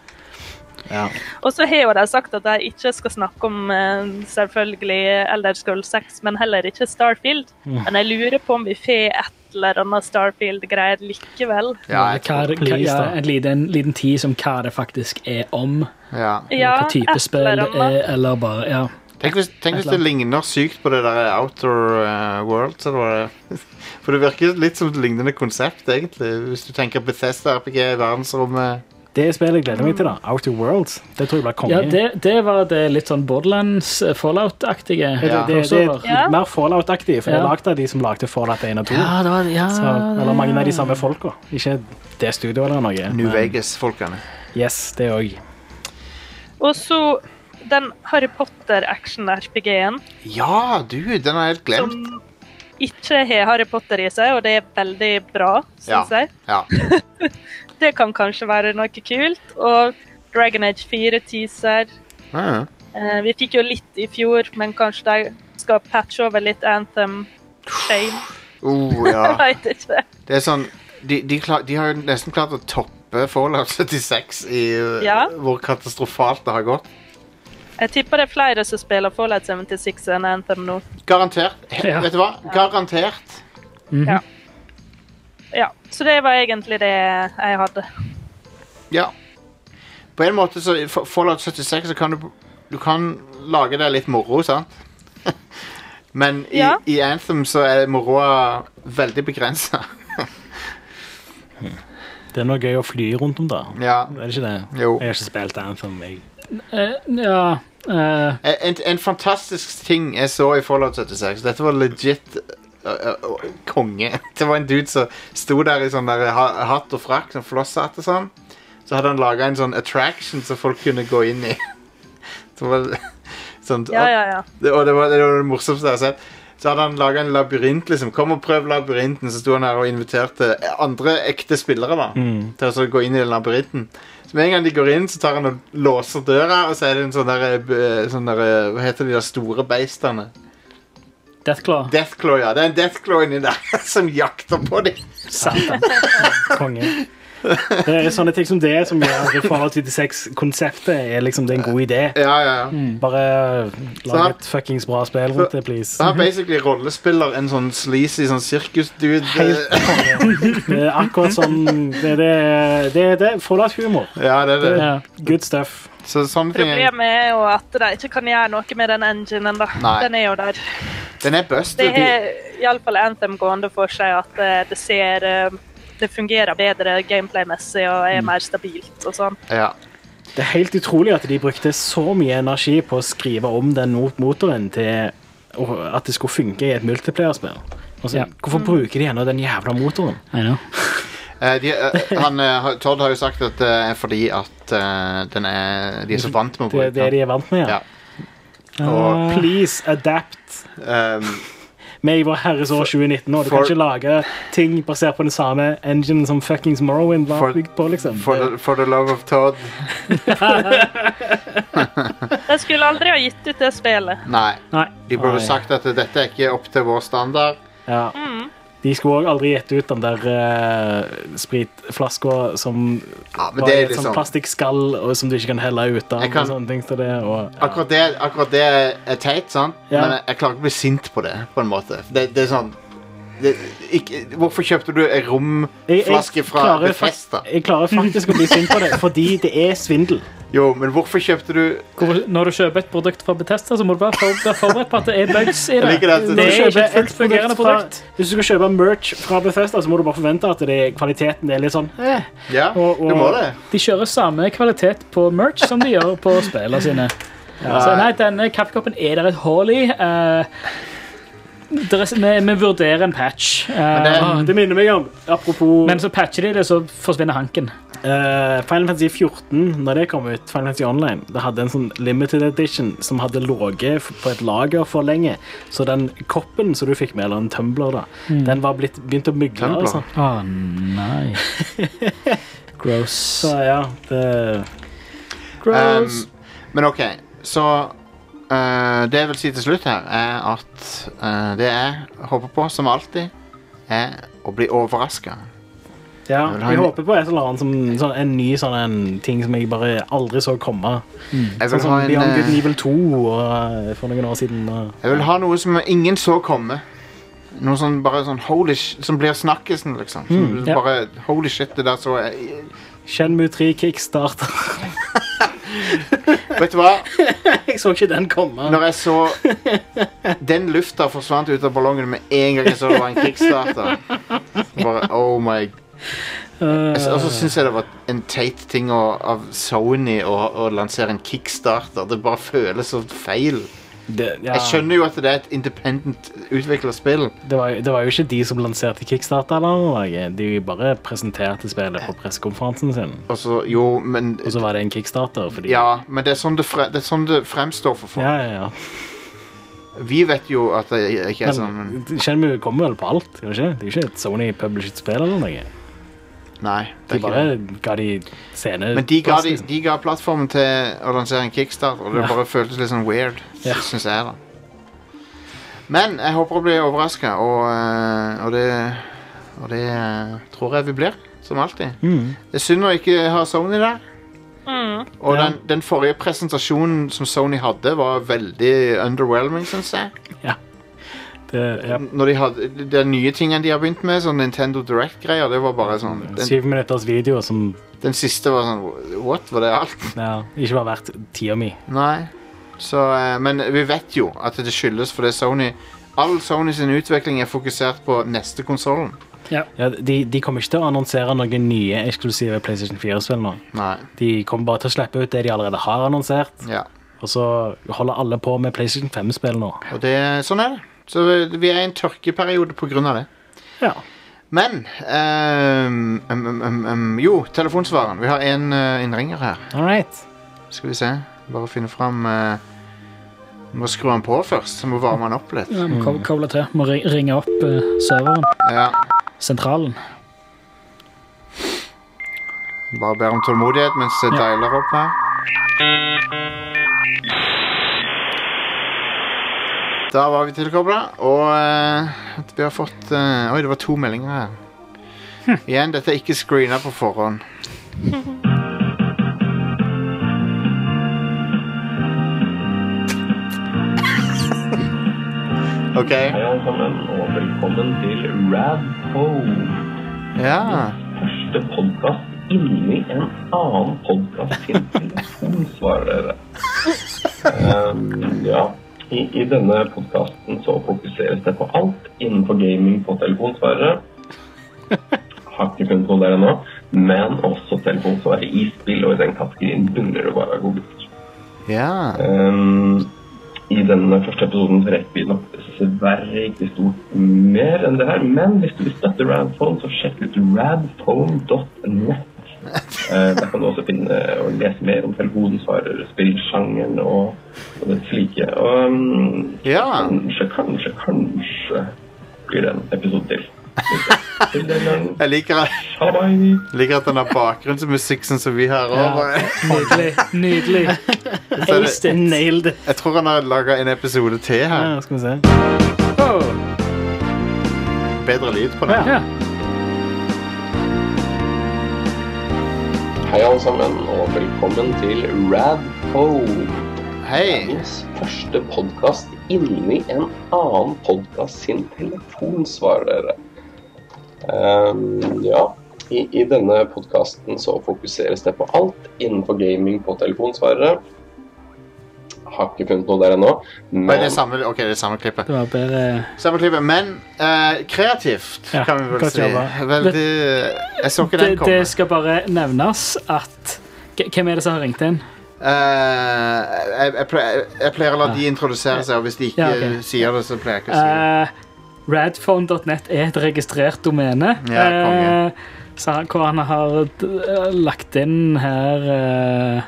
ja. Og så har jo de sagt at de ikke skal snakke om eh, selvfølgelig Elder Scroll 6, men heller ikke Starfield. Mm. Men jeg lurer på om vi får et eller annet Starfield-greier likevel. hva, er- hva, Please, ja, da. en liten, liten tid som hva det faktisk er om. Ja. Ja, hva type et spill eller det er, annet. eller bare Ja. Tenk hvis, tenk Et hvis eller det annet. ligner sykt på det der Outer eh, Worlds. Eller hva det (laughs) er. For det virker litt som et lignende konsept, egentlig. Hvis du tenker Bethesda RPG, verdensrommet Det spillet jeg gleder meg til, da. Outer Worlds. Det tror jeg blir konge. Ja, det, det var det litt sånn Borderlands eh, Fallout-aktige. Det, det, det, crossover. er mer Fallout-aktig, for det er Ja. lagd av de som lagde Fallout 1 og 2. Ja, det var- ja, så, eller mange av det- de samme folka. Ikke det studioet eller noe. New men- Vegas-folkene. Yes, det òg. Og så den Harry Potter-action-RPG-en, Ja, du! Den har jeg helt glemt. som ikke har Harry Potter i seg, og det er veldig bra, Ja. syns jeg. ja. Det kan kanskje være noe kult. Og Dragon Age 4-teaser. Ja, Eh, vi fikk jo litt i fjor, men kanskje de skal patche over litt Anthem Shame. Oh, (laughs) ja. Jeg veit ikke. Det er sånn De, de, klar, de har jo nesten klart å toppe Fallout 76 i eh, Ja. hvor katastrofalt det har gått. Jeg tipper det er flere som spiller Fallout 76 enn Anthem nå. Garantert. He- Vet du hva? Garantert. Ja. ja. Så det var egentlig det jeg hadde. Ja. På en måte så i Fa- Fallout 76 så kan du Du kan lage deg litt moro, sant? (laughs) Men i, Ja. i Anthem så er moroa veldig begrensa. Det er noe gøy å fly rundt om, da. (laughs) Ja. Er det ikke det? Jo. Jeg har ikke spilt Anthem, jeg. Eh, ja eh, En, en fantastisk ting jeg så i Fallout 76 Dette var legit ø, ø, ø, konge. (laughs) Det var en dude som sto der i sånn der ha- hatt og frakk, sånn flosshatt og sånn. Så hadde han laga en sånn attraction som folk kunne gå inn i. (laughs) Så var det- sånn, Ja, ja, ja. Det, og det var det, var det morsomste jeg har sett. Så hadde han laga en labyrint. liksom Kom og prøv labyrinten. Så sto han her og inviterte andre ekte spillere da Mm. til å så gå inn i den labyrinten. Så med en gang de går inn, så tar han og låser døra, og så er det en sånn der, eh, b- eh, sånn der eh, Hva heter de der store beistene? Deathclaw. (laughs) Deathclaw, ja. Det er en Deathclaw inni der som jakter på dem. (laughs) Satan. Konge. Det er sånne ting som det som gjør at Fallout 76-konseptet er liksom det er en god idé. Mm. Bare Så her- lag et fuckings bra spill rundt det, please. Så her basically rollespiller en sånn sleazy sånn sirkusdude. Det er akkurat som Det er det, det, er det. Fallout-humor. (laughs) Ja, det er det. Ja. Good stuff. Så sånne ting er, Problemet er jo at de ikke kan gjøre noe med den enginen. da. Nei. Den er jo der. Den er bust. Det De- er iallfall Anthem gående for seg at eh, det ser eh, Det fungerer bedre gameplay-messig og er Mm. mer stabilt og sånn. Det er helt utrolig at de brukte så mye energi på å skrive om den mot- motoren til og at det skulle funke i et multiplayer-spill. Altså, Ja. Hvorfor bruker de ennå den jævla motoren? Eh, de, eh, han, eh, har- Todd har jo sagt at det er fordi at eh, den er, de er så vant med å Det er bruke det de er vant med, ja. Og- ehm, Ah. please adapt. Vi er i vår herres år 2019, og du for- kan ikke lage ting basert på den samme enginen som fuckings Morrowind var For- bygd på, liksom. For the, for the love of Todd. De skulle aldri ha gitt ut det spillet. Nei. De burde Nei. sagt at dette er ikke opp til vår standard. Ja. Mm. De skulle òg aldri gitt ut den der eh, spritflaska som men var det er i et litt sånt sånn- plastikkskall og som du ikke kan helle ut av. Jeg kan- og sånne ting til det, og, Akkurat det, akkurat det er teit, sant? Ja. men jeg, jeg klarer ikke å bli sint på det. på en måte. Det, det er sånn det, ikke, Hvorfor kjøpte du en Jeg- jeg romflaske fra klarer fak- Bethesda? Jeg klarer faktisk å bli sint på det, fordi det er svindel. Jo, men hvorfor kjøpte du Hvor, når du kjøper et produkt fra Betesta, så må du være, for, være forberedt på at det er bugs i Jeg det. liker det at du- Det Når du er ikke kjøper et fullt fungerende fra- produkt. Hvis du skal kjøpe merch fra Bethesda, så må du bare forvente at det, kvaliteten er litt sånn eh. Ja, Og- og- du må det. De kjører samme kvalitet på merch som de gjør på spillene sine. Ja. Så nei, denne kaffekoppen er der et hull i. eh, der er, vi, vi vurderer en patch. eh, det, minner meg om Apropos men så patcher de det, så forsvinner hanken. eh, Final Fantasy 14, når det kom ut, Final Fantasy Online, det hadde en sånn limited edition som hadde ligget f- på et lager for lenge. Så den koppen som du fikk med, eller en tumbler, da, Mm. den var blitt, begynt å mygle. Å Altså. (laughs) nei. Gross. Så ja, det Gross. Um, men OK, så eh, Det jeg vil si til slutt her, er at eh, det jeg håper på, som alltid, er å bli overraska. Ja, vil ha jeg en- håper på et eller annet som, sånn, en ny sånn en ting som jeg bare aldri så komme. Jeg Sånn vil som ha en, Beyond Good and eh, Evil 2 og, eh, for noen år siden. og- jeg vil ha noe som ingen så komme. Noe som bare sånn holy sh Som blir snakkisen, liksom. Som Mm, ja. bare Holy shit, det der så jeg Shenmue 3 kickstarter. (laughs) Vet du hva? jeg så ikke den komme. Når jeg så Den lufta forsvant ut av ballongen med en gang jeg så det var en kickstarter. Bare, oh my Jeg- Og så syns jeg det var en teit ting å, av Sony å, å lansere en kickstarter. Det bare føles så feil. ja. Jeg skjønner jo at det er et independent utvikla spill. Det var, jo- det var jo ikke de som lanserte Kickstarter. Eller, noe. de bare presenterte spillet på pressekonferansen sin. Og så, jo, men, og så var det en Kickstarter. Fordi, Ja, men det er sånn det, fre, det, er sånn det fremstår for folk. ja, ja, ja. Vi vet jo at det ikke er sånn, men Men Shenmue kommer vel på alt? gjør det Ikke? Det er jo ikke et Sony-published spill eller noe. Nei. det De er ikke det. bare ga de scene... Men de ga, plass, de, liksom. de ga plattformen til å lansere en kickstarter, og det Ja. bare føltes litt sånn weird, Ja. synes jeg da. Men jeg håper å bli overrasket, og, eh, og det, og det eh, tror jeg vi blir, som alltid. Mm. Det er synd å ikke ha Sony der, Mm. og Ja. den, den forrige presentasjonen som Sony hadde var veldig underwhelming, synes jeg. Det, ja. Når de hadde, de nye tingene de har begynt med, sånn Nintendo Direct-greier, det var bare sånn... Den, Syv minutters video som den siste var sånn, what, var det alt? ja, ikke var verdt tida mi. Nei. Så, eh, men vi vet jo at det skyldes fordi Sony All Sony sin utvikling er fokusert på neste konsollen. Ja, de, de kommer ikke til å annonsere noen nye eksklusive PlayStation 4-spill nå. Nei. De kommer bare til å slippe ut det de allerede har annonsert. Ja. Og så holder alle på med PlayStation 5-spill nå. Og det, sånn er det. Så vi- vi er i en tørkeperiode pga. det. Ja. Men ehm, em, em, em, em, Jo, telefonsvareren. Vi har en eh, innringer her. All right. Skal vi se. Bare finne fram eh, Må skru han på først. Så må varme han opp litt. Ja, må Mm. ko- koble til. Må ri- ringe opp eh, serveren. Ja. Sentralen. Bare ber om tålmodighet mens det deiler opp her. Da var vi tilkobla, og eh, vi har fått eh, Oi, det var to meldinger her. Igjen, dette er ikke screena på forhånd. (laughs) OK. Hei alle sammen, og velkommen til Radpo. Ja. Første podkast inni en annen podkast inntil to, svarer dere. Eh, ja. I, I denne podkasten så fokuseres det på alt innenfor gaming på telefonsvarere. Har ikke funnet noe der ennå. Men også telefonsvarere i spill, og i den kategorien bunner det bare av gode gutter. Ja. Ehm, I denne første episoden så rekker vi nok dessverre ikke stort mer enn det her. Men hvis du vil støtte Radphone, så sjekk ut radphone.net. Eh, der kan du også finne og lese mer om telefonsvarer, spillsjangeren og, og det slike. Og mm, kanskje, kanskje, kanskje blir det en episode til. Jeg liker, jeg liker at den har bakgrunnsmusikk sånn som vi har. Ja. Over. Nydelig. (laughs) Nydelig. Aced it. Nailed it. Jeg tror han har laga en episode til her. Ja, skal vi se. Bedre lyd på den. Hei alle sammen, og velkommen til Radpo. Hei. Verdens første podkast inni en annen podkast sin telefon, svarer dere. Ehm, ja, i, i denne podkasten så fokuseres det på alt innenfor gaming på telefonsvarere. Har ikke funnet noe der ennå. Oi, det er samme, ok, det er samme klippet. Det var bedre Samme klippet, men eh, kreativt, Ja, kan vi vel godt si. jobba. Veldig Jeg så ikke den det, komme. det skal bare nevnes at K- Hvem er det som har ringt inn? Eh, jeg, jeg, pleier, jeg pleier å la de introdusere seg, og hvis de ikke Ja, ok. sier det, så pleier jeg ikke å si det. Eh, Radphone.net er et registrert domene. Ja, konge. Eh, så han- hvor han har eh, lagt inn her eh,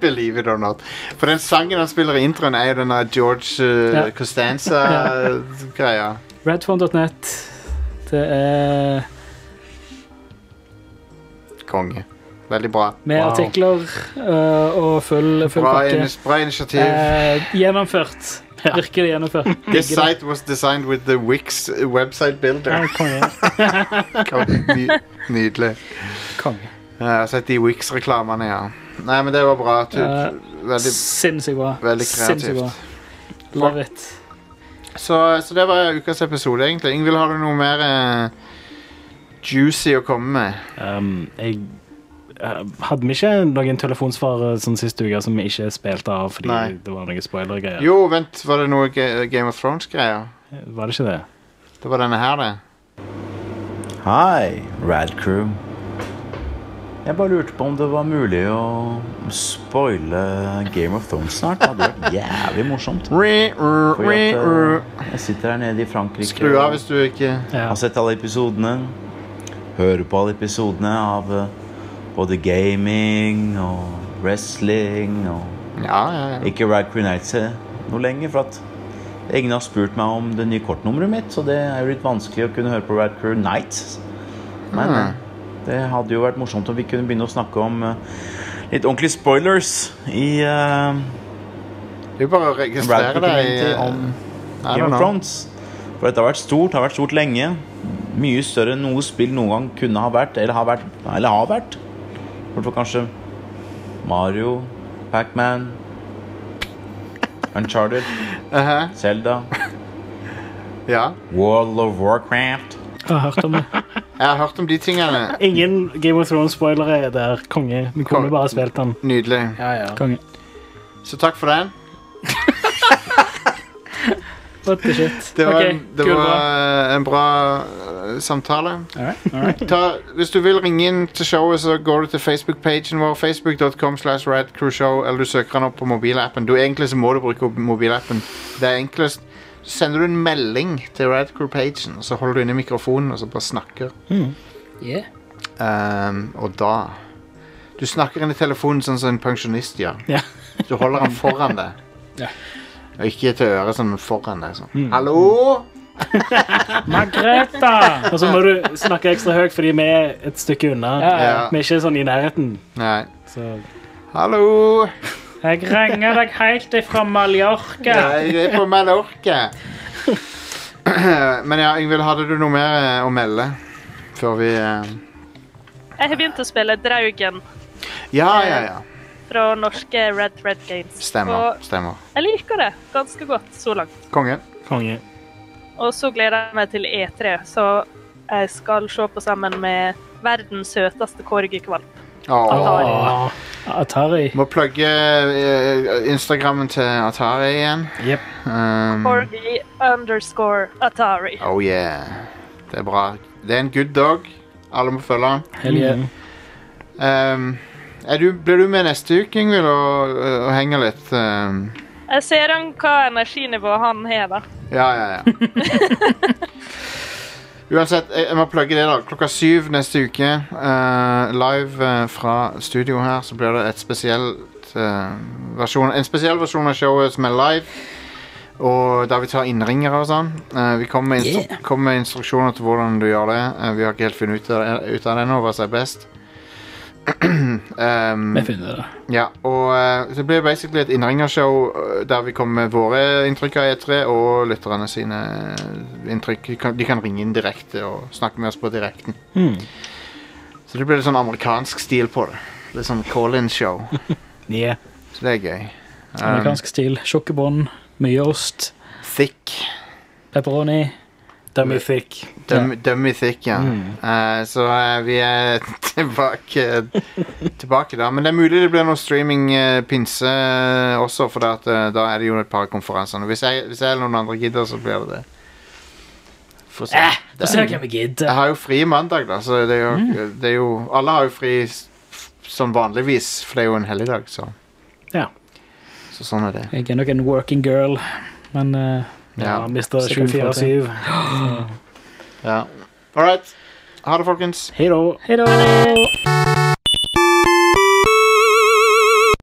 Believe it or not. For den sangen han spiller i introen, er jo den der George eh, Ja. Costanza-greia. eh, Radphone.net. Det er Konge. Veldig bra. med artikler eh, og full, full Bra, pakke. inis- bra initiativ. Eh, gjennomført. Virkelig (laughs) gjennomført. This Digger det. site was designed with the Wix website builder. Ja, konge. Konge. Ny, nydelig. Eh, Konge. Jeg har sett de Wix-reklamene, ja. Nei, men det var bra. Tu- Eh, Veldig, Sinnssykt bra. veldig Sinnssykt bra. kreativt. Love it. Så, så det var ukas episode, egentlig. Ingvild, har du noe mer eh, juicy å komme med? Um, jeg eh, hadde vi ikke noen telefonsvarere sånn sist uke som vi ikke spilte av fordi Nei. det var noen spoilergreier? Jo, vent, var det noe Ga- Game of Thrones-greier? Var det ikke det? Det var denne her, det. Hei, Rad Crew. Jeg bare lurte på om det var mulig å spoile Game of Thrones snart. Det hadde vært jævlig morsomt. Fordi at, eh, jeg sitter her nede i Frankrike Skru av hvis du ikke har sett alle episodene. Hører på alle episodene av eh, både gaming og wrestling og Ikke Rad Crew Nights eh, noe lenger, for at ingen har spurt meg om det nye kortnummeret mitt, så det er jo litt vanskelig å kunne høre på Rad Crew Nights. Men eh, Hmm. det hadde jo vært morsomt om vi kunne begynne å snakke om eh, litt ordentlige spoilers i eh, Det er jo bare å registrere Rad Crew deg i community eh, om I Game don't of know. Thrones. For dette har vært stort, har vært stort lenge. Mye større enn noe spill noen gang kunne ha vært, eller har vært. Eller har vært. Bortsett fra kanskje Mario, Pac-Man, Uncharted, Zelda World of Warcraft. Jeg har hørt om det. Jeg har hørt om de tingene. Ingen Game of Thrones-spoilere der. Konge. Vi kunne bare spilt den. Nydelig. Konge. Så takk for den. What the shit. Det var, Ok, en, det kul, var bra. eh, en bra eh, samtale. Alright, alright. Ta, hvis du vil ringe inn til showet, så går du til Facebook-pagen vår. Facebook.com slash radcrewshow, eller du søker den opp på mobilappen. Du, egentlig så må du bruke opp mobilappen. Det er enklest. Så sender du en melding til radcrew-pagen, og så holder du inne mikrofonen og så bare snakker. Yeah. Ehm, og da Du snakker inn i telefonen sånn som en pensjonist gjør. Ja. Du holder den foran deg. Ja. Og ikke til øret, sånn, men foran deg. Sånn. Hallo? Margrethe! Og så må du snakke ekstra høyt, fordi vi er et stykke unna. Ja, ja. Vi er ikke sånn i nærheten. Nei. Så Hallo! Jeg ringer deg helt ifra Mallorca. Nei, jeg er på Mallorca. Men ja, Ingvild, hadde du noe mer eh, å melde? Før vi eh, Jeg har begynt å spille Draugen Ja, ja, ja. fra norske Red Red Games. Stemmer. Og stemmer. jeg liker det ganske godt så langt. Konge. Og så gleder jeg meg til E3, så jeg skal se på sammen med verdens søteste korgikvalp. Åh. Atari. Må plugge eh, Instagrammen til Atari igjen. Um, Corgi underscore Atari. oh yeah. Det er bra. Det er en good dog. Alle må følge han. Hell yeah. Mhm. Um, er du, blir du med neste uke, Ingvild, og, og henger litt? Um, Jeg ser an hva energinivået han har, da. ja, ja, ja. Uansett, jeg, jeg må plugge det da. Klokka syv neste uke, eh, live eh, fra studio her, så blir det et spesielt eh, versjon, en spesiell versjon av showet som er live. Og der vi tar innringere og sånn. Eh, vi kommer med, instru Yeah. kommer med instruksjoner til hvordan du gjør det. Eh, vi har ikke helt funnet ut av det, ut av det ennå, hva som er best. Um, Vi finner det. Ja, og eh, det blir basically et innringershow eh, der vi kommer med våre inntrykk av E3 og lytterne sine eh, inntrykk. De kan, de kan ringe inn direkte og snakke med oss på direkten. Hmm. Så det blir litt sånn amerikansk stil på det. Litt sånn call-in-show. Yeah. Så det er gøy. Um, Amerikansk stil. Tjukke bånd, mye ost. Thick. Pepperoni. Dummy thick. Dummy, dummy thick, ja. Mm. Eh, så eh, vi er (laughs) tilbake, tilbake da. Men det er mulig det blir noe streaming-pinse også, for det at, eh, da er det jo et par konferanser. Hvis jeg, hvis jeg eller noen andre gidder, så blir det det. Få se. Eh, Det få se er- hvem vi Jeg har jo fri mandag, da, så det er jo, Mm. det er jo Alle har jo fri s- f- som vanligvis, for det er jo en helligdag, så Ja. Så sånn er det. Jeg er nok en working girl, men eh, Ja, mister så kan vi få 24/7. til. Ja. All right. Ha det, folkens. Hei da.